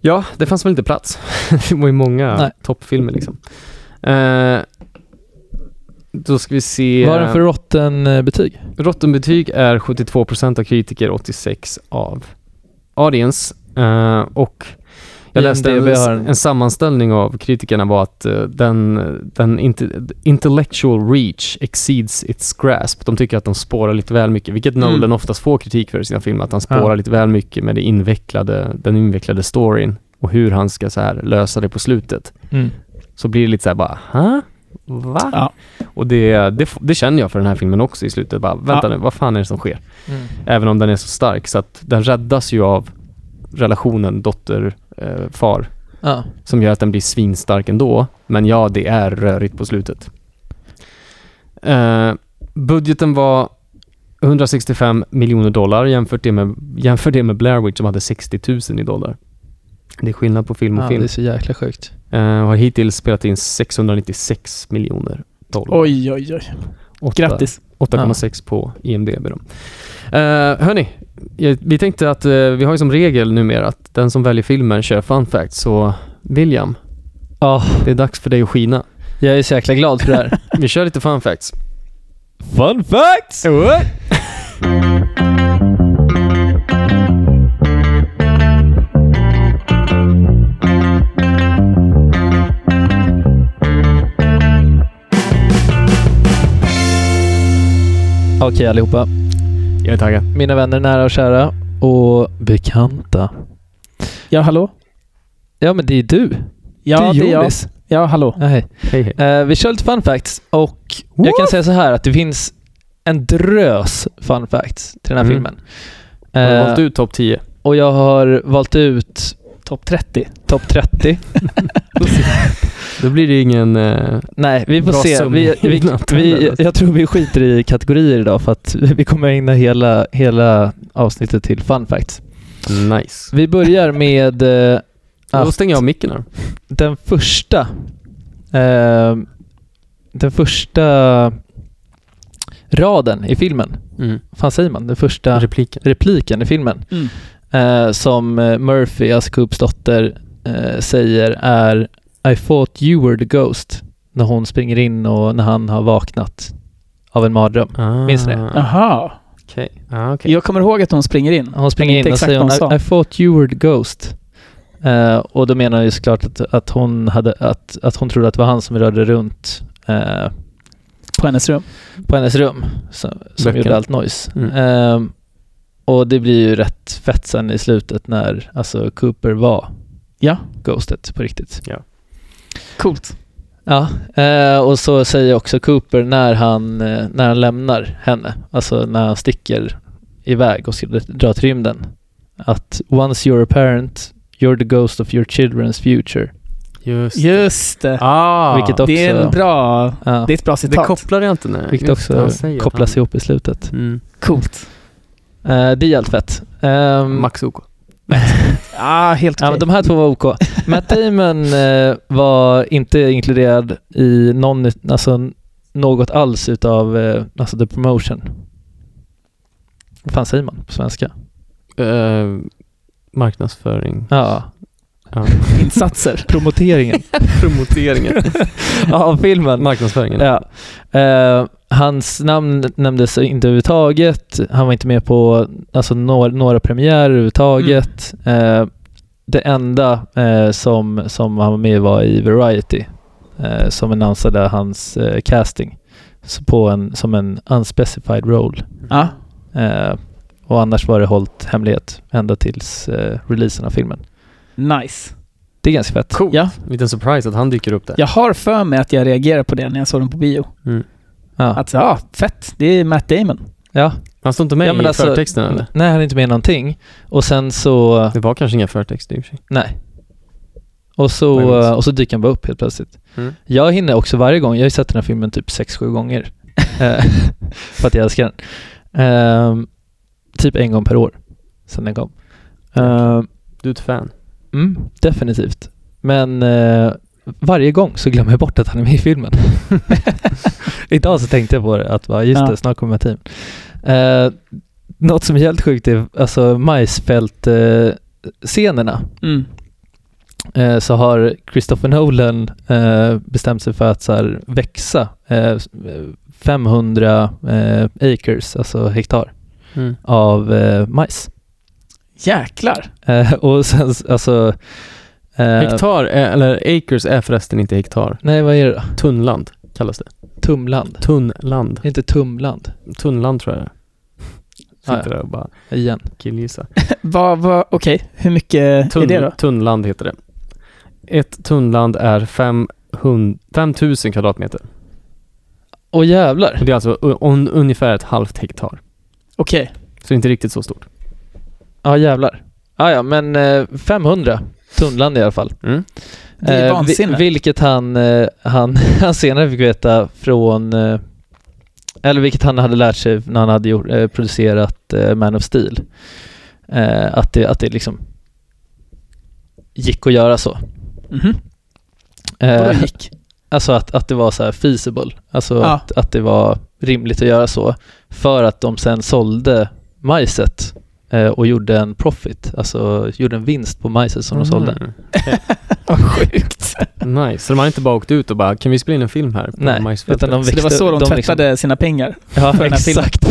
Speaker 1: ja, det fanns väl inte plats. det var ju många
Speaker 7: Nej.
Speaker 1: toppfilmer liksom. Eh, då ska vi se...
Speaker 7: Vad har den för rotten-betyg?
Speaker 1: Rottenbetyg är 72% av kritiker, 86% av audience. Eh, och jag läste en,
Speaker 7: IMDb har en-
Speaker 1: en sammanställning av kritikerna var att eh, den, den inte- intellectual reach exceeds its grasp. De tycker att de spårar lite väl mycket, vilket
Speaker 8: Mm.
Speaker 1: Nolan oftast får kritik för i sina filmer, att han spårar
Speaker 7: Ja.
Speaker 1: lite väl mycket med det invecklade, den invecklade storyn och hur han ska så här lösa det på slutet.
Speaker 7: Mm.
Speaker 1: Så blir det lite så här bara, ha? Va?
Speaker 8: Ja.
Speaker 1: Och det, det, f- det känner jag för den här filmen också i slutet. Bara, vänta
Speaker 8: Ja.
Speaker 1: nu, vad fan är det som sker?
Speaker 7: Mm.
Speaker 1: Även om den är så stark så att den räddas ju av relationen dotter-far eh, far,
Speaker 7: Ja.
Speaker 1: som gör att den blir svinstark ändå. Men ja, det är rörigt på slutet. Eh, budgeten var 165 miljoner dollar jämfört det med, jämför det med Blair Witch som hade 60 000 i dollar. Det är skillnad på film och
Speaker 7: Ja, det
Speaker 1: film.
Speaker 7: är så jäkla sjukt.
Speaker 1: Eh, och har hittills spelat in 696 miljoner dollar.
Speaker 8: Oj, oj, oj.
Speaker 1: Åtta-
Speaker 8: Grattis.
Speaker 1: 8,6 på IMDB. Då. Eh, hörni, eh, vi tänkte att eh, vi har ju som regel numera att den som väljer filmen kör fun facts. Så William,
Speaker 7: Ja,
Speaker 1: det är dags för dig att skina.
Speaker 7: Ah, jag är så jäkla glad för det här.
Speaker 1: Vi kör lite fun facts.
Speaker 7: Fun facts! Okej allihopa.
Speaker 1: Jag är taggad.
Speaker 7: Mina vänner, nära och kära och bekanta.
Speaker 8: Ja, hallå?
Speaker 7: Ja, men det är du.
Speaker 8: Ja,
Speaker 7: det är
Speaker 8: jag.
Speaker 7: Jolis.
Speaker 8: Ja, hallå.
Speaker 7: Ja, hej.
Speaker 1: Hej, hej.
Speaker 7: Eh, vi kör lite fun facts och jag kan säga så här att det finns en drös fun facts till den här
Speaker 1: Mm.
Speaker 7: filmen.
Speaker 1: Har du
Speaker 7: Eh,
Speaker 1: valt ut topp 10?
Speaker 7: Och jag har valt ut topp 30. Topp 30.
Speaker 1: Då blir det ingen... eh,
Speaker 7: Nej, vi får
Speaker 1: Bra
Speaker 7: se.
Speaker 1: summa.
Speaker 7: Vi, vi, vi, jag tror vi skiter i kategorier idag för att vi kommer ägna hela, hela avsnittet till fun facts.
Speaker 1: nice.
Speaker 7: Vi börjar med eh,
Speaker 1: Då stänger jag av micken här.
Speaker 7: den första eh, den första raden i filmen.
Speaker 1: Mm.
Speaker 7: Vad fan säger man? Den första
Speaker 1: Repliken.
Speaker 7: repliken i filmen
Speaker 8: Mm.
Speaker 7: eh, som eh, Murphy, alltså Coops dotter, eh, säger är I thought you were the ghost när hon springer in och när han har vaknat av en mardröm.
Speaker 1: Ah,
Speaker 7: Minns ni?
Speaker 8: Aha.
Speaker 1: Okej. Ah, okej.
Speaker 8: Jag kommer ihåg att hon springer in.
Speaker 7: Hon
Speaker 8: Men
Speaker 7: springer
Speaker 8: inte
Speaker 7: in och
Speaker 8: exakt
Speaker 7: säger
Speaker 8: vad hon
Speaker 7: hon,
Speaker 8: sa.
Speaker 7: I, I thought you were the ghost. Eh, och då menar jag ju såklart att, att, hon hade, att, att hon trodde att det var han som rörde runt eh,
Speaker 8: På hennes rum.
Speaker 7: på hennes rum som, som
Speaker 1: Böckerna.
Speaker 7: gjorde allt noise.
Speaker 1: Mm.
Speaker 7: Ehm, och det blir ju rätt fett sen i slutet när alltså Cooper var
Speaker 8: Ja.
Speaker 7: ghostet på riktigt.
Speaker 8: Coolt.
Speaker 7: Ja, eh, och så säger också Cooper när han, eh, när han lämnar henne, alltså när han sticker iväg och ska dra till rymden, att once you're a parent, you're the ghost of your children's future.
Speaker 1: Just.
Speaker 8: Just det.
Speaker 1: Ah,
Speaker 7: Vilket också,
Speaker 8: det är en bra...
Speaker 7: ja,
Speaker 8: Det är ett bra
Speaker 1: det
Speaker 8: citat.
Speaker 1: kopplar jag inte när.
Speaker 7: vilket
Speaker 1: just det,
Speaker 7: också
Speaker 1: han säger
Speaker 7: kopplas
Speaker 1: han-
Speaker 7: ihop i slutet.
Speaker 1: Mm.
Speaker 8: Coolt.
Speaker 7: Eh, det är allt fett. Ehm,
Speaker 1: Max OK.
Speaker 8: Ja, Ah, helt okej.
Speaker 7: Ja, men de här två var OK. Matt Damon eh, var inte inkluderad i någon, alltså, något alls utav eh, alltså, the promotion. Vad fan säger man på svenska?
Speaker 1: Eh, marknadsföring.
Speaker 7: Ja,
Speaker 1: Ja.
Speaker 8: Insatser.
Speaker 7: promoteringen
Speaker 1: Promoteringen.
Speaker 7: av filmen.
Speaker 1: Marknadsföringen.
Speaker 7: Ja. Eh, hans namn nämndes inte överhuvudtaget. Han var inte med på alltså, några, några premiärer överhuvudtaget. Eh, det enda eh, som, som han var med i var i Variety eh, som annonsade hans eh, casting så på en, som en unspecified role.
Speaker 8: Ja.
Speaker 7: Eh, och annars var det hållt hemlighet ända tills eh, releasen av filmen.
Speaker 8: Nice.
Speaker 7: Det är ganska fett.
Speaker 1: Coolt.
Speaker 8: Ja.
Speaker 1: Liten surprise att han dyker upp där.
Speaker 8: Jag har för mig att jag reagerade på det när jag såg den på bio.
Speaker 7: Ja.
Speaker 8: Att, ja, fett. Det är Matt Damon.
Speaker 7: Ja.
Speaker 1: Han står inte med
Speaker 7: Ja, men
Speaker 1: i
Speaker 7: alltså-
Speaker 1: förtexten eller?
Speaker 7: Nej, han är inte med i någonting. Och sen så...
Speaker 1: Det var kanske inga förtexter i och för sig.
Speaker 7: Nej. Och så,
Speaker 1: Möjligt.
Speaker 7: och så dyker han bara upp helt plötsligt.
Speaker 1: Mm.
Speaker 7: Jag hinner också varje gång, jag har ju sett den här filmen typ 6-7 gånger. Eh, för att jag älskar den. Ehm, typ en gång per år sedan den kom. Ehm,
Speaker 1: Du är ett fan.
Speaker 7: mm, definitivt. Men eh, varje gång så glömmer jag bort att han är med i filmen. Idag så tänkte jag på det, att bara, just
Speaker 8: Ja.
Speaker 7: det, snart kommer team. Uh, något som är helt sjukt är alltså majsfält-scenerna
Speaker 8: Mm.
Speaker 7: eh, så har Christopher Nolan eh, bestämt sig för att så här, växa eh, 500 eh, acres, alltså hektar,
Speaker 1: Mm.
Speaker 7: av eh, majs.
Speaker 8: Jäklar.
Speaker 7: Eh, och sen s- alltså... Eh,
Speaker 1: Hektar, är, eller acres är förresten inte hektar.
Speaker 7: Nej, vad är det då?
Speaker 1: Tunnland kallas det.
Speaker 7: Tumland.
Speaker 1: Tunnland.
Speaker 7: Det är inte Tumland.
Speaker 1: Tunnland tror jag det är.
Speaker 7: Ah,
Speaker 1: Sitter där och bara
Speaker 7: Igen.
Speaker 1: killgissar.
Speaker 8: Vad, vad, okej. Hur mycket är det
Speaker 1: Tunn,
Speaker 8: då?
Speaker 1: tunnland heter det. Ett tunnland är 500, 5000 kvadratmeter.
Speaker 7: Åh jävlar.
Speaker 1: Och det är alltså u- un, ungefär ett halvt hektar.
Speaker 8: Okej.
Speaker 1: Så det är inte riktigt så stort.
Speaker 7: Ja jävlar. Ah, ja, men eh, 500 Tumland i alla fall.
Speaker 1: Mm.
Speaker 8: Det är
Speaker 7: Eh, vi-
Speaker 8: vansinne.
Speaker 7: vilket han, eh, han, han senare fick veta från eh, Eller vilket han hade lärt sig när han hade gjort, eh, producerat eh, Man of Steel. Eh, att, det, att det liksom gick att göra så.
Speaker 8: Mhm. Vadå
Speaker 7: Eh,
Speaker 8: gick?
Speaker 7: Alltså att, att det var så här feasible. Alltså
Speaker 8: Ja.
Speaker 7: att, att det var rimligt att göra så. För att de sen sålde majset eh, och gjorde en profit. Alltså gjorde en vinst på majset
Speaker 1: Mm.
Speaker 7: som
Speaker 8: Mm.
Speaker 7: de sålde.
Speaker 8: Vad sjukt.
Speaker 1: Nice. Så de har inte bara åkt ut och bara, kan vi spela in en film här? på
Speaker 7: Nej,
Speaker 1: majsfältet?"
Speaker 7: utan de
Speaker 8: Så
Speaker 7: växte,
Speaker 8: Alltså, det var så de,
Speaker 7: liksom-
Speaker 8: tvättade sina pengar. för
Speaker 7: ja,
Speaker 8: den här filmen.
Speaker 7: exakt.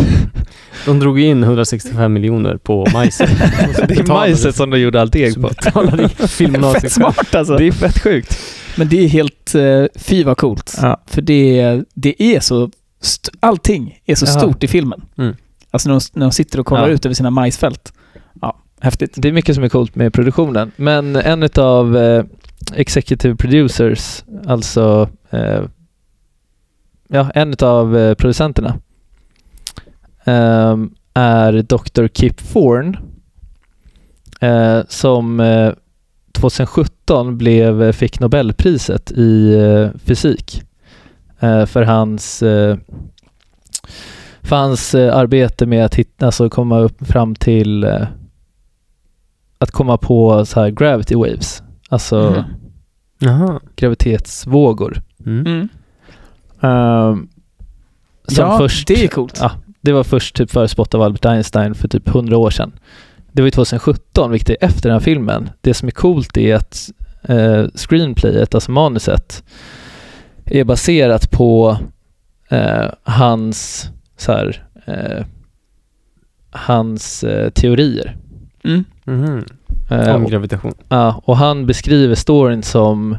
Speaker 1: De drog in 165 miljoner på majset. Och så
Speaker 7: Det är
Speaker 1: betalade-
Speaker 7: majset som de gjorde allt deg
Speaker 1: så
Speaker 7: på.
Speaker 1: betalade
Speaker 8: Fett
Speaker 1: filmgymnasiet.
Speaker 8: smart alltså.
Speaker 7: Det är fett sjukt.
Speaker 8: Men det är helt... eh, Fy vad coolt.
Speaker 7: Ja.
Speaker 8: För det, det är så... St- allting är så
Speaker 7: Ja.
Speaker 8: stort i filmen.
Speaker 1: Mm.
Speaker 8: Alltså när de, när de sitter och kollar
Speaker 7: Ja.
Speaker 8: ut över sina majsfält. Ja, häftigt.
Speaker 7: Det är mycket som är coolt med produktionen. Men en utav eh, executive producers, alltså eh, ja, en utav eh, producenterna ehm, är Dr. Kip Thorne eh, som eh, 2017 blev, fick Nobelpriset i eh, fysik eh, för hans eh, för hans eh, arbete med att hitta, alltså komma upp fram till eh, att komma på så här gravity waves, alltså
Speaker 8: Mhm.
Speaker 1: Jaha.
Speaker 7: gravitetsvågor.
Speaker 1: Mm.
Speaker 8: Mm.
Speaker 7: som
Speaker 8: Ehm, ja,
Speaker 7: först,
Speaker 8: det är coolt.
Speaker 7: Ja, det var först typ förespått av Albert Einstein för typ 100 år sedan. Det var ju 2017, vilket är efter den här filmen. Det som är coolt är att eh, screenplayet, alltså manuset, är baserat på eh, hans, så här, eh, hans eh, teorier.
Speaker 8: Mm.
Speaker 1: Mhm.
Speaker 7: Eh,
Speaker 1: Om
Speaker 7: och-
Speaker 1: gravitation.
Speaker 7: Ja, och han beskriver storyn som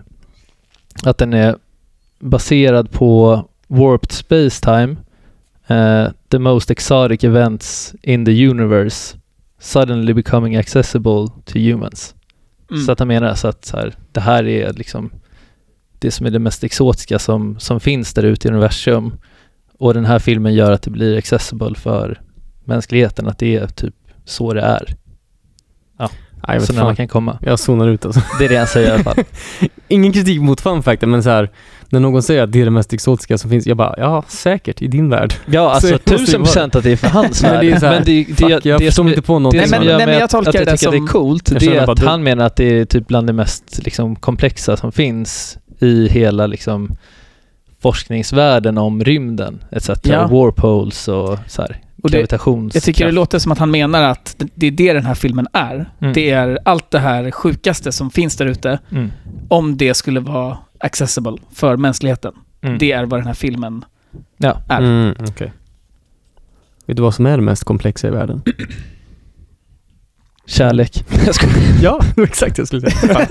Speaker 7: att den är baserad på warped space-time, eh, the most exotic events in the universe suddenly becoming accessible to humans.
Speaker 8: Mm.
Speaker 7: Så att han menar alltså att så här, det här är liksom det som är det mest exotiska som, som finns där ute i universum och den här filmen gör att det blir accessible för mänskligheten, att det är typ så det är.
Speaker 1: Nej, jag vet
Speaker 7: Så när man
Speaker 1: fan.
Speaker 7: kan komma.
Speaker 1: Jag zonar ut alltså.
Speaker 7: Det är det han säger i alla fall.
Speaker 1: Ingen kritik mot fanfakten, men så här, när någon säger att det är det mest exotiska som finns, jag bara, ja säkert i din värld.
Speaker 7: Ja,
Speaker 1: Så
Speaker 7: alltså
Speaker 1: det måste ju
Speaker 7: tusen procent att det är för hans
Speaker 1: Men det är så här,
Speaker 7: Men det, det,
Speaker 1: Fuck, jag förstår
Speaker 7: som,
Speaker 1: inte på
Speaker 7: det
Speaker 1: någonting.
Speaker 7: som
Speaker 8: Nej, men-
Speaker 7: gör
Speaker 8: nej, men
Speaker 7: mig
Speaker 8: jag
Speaker 7: att,
Speaker 8: tolkar
Speaker 7: att jag
Speaker 8: det
Speaker 7: tycker att det
Speaker 8: som-
Speaker 7: är coolt,
Speaker 1: Jag
Speaker 7: det
Speaker 1: känner
Speaker 7: är
Speaker 1: bara
Speaker 7: att
Speaker 1: dum.
Speaker 7: han menar att det är typ bland det mest liksom, komplexa som finns i hela liksom, forskningsvärlden om rymden etc.
Speaker 8: Ja.
Speaker 7: Warp holes och så här,
Speaker 8: Och det-
Speaker 7: gravitationskraft.
Speaker 8: Jag tycker det låter som att han menar att det- det är det den här filmen är.
Speaker 7: Mm.
Speaker 8: Det är allt det här sjukaste som finns där ute,
Speaker 7: Mm.
Speaker 8: om det skulle vara accessible för mänskligheten.
Speaker 7: Mm.
Speaker 8: Det är vad den här filmen...
Speaker 7: Ja.
Speaker 8: är.
Speaker 1: Mm, okej. Vet du vad som är det mest komplexa i världen?
Speaker 7: Kärlek. Jag skojar.
Speaker 1: ja, exakt jag skulle säga.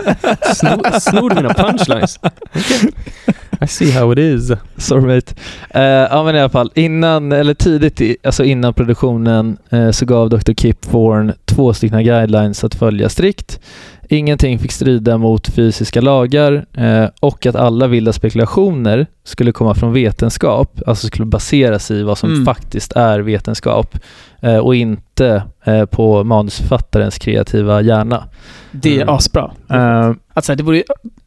Speaker 1: Snor, snor mina punchlines. I see how it is.
Speaker 7: Sorry mate. Eh, ja men i alla fall, innan, eller tidigt i, alltså innan produktionen eh, så gav Dr. Kip Thorne två stycken guidelines att följa strikt. Ingenting fick strida mot fysiska lagar eh, och att alla vilda spekulationer skulle komma från vetenskap, alltså skulle baseras i vad som
Speaker 8: Mm.
Speaker 7: faktiskt är vetenskap eh, och inte eh, på manusförfattarens kreativa hjärna.
Speaker 8: Det är
Speaker 1: Mm.
Speaker 8: asbra.
Speaker 7: Eh,
Speaker 8: Att så här, det borde,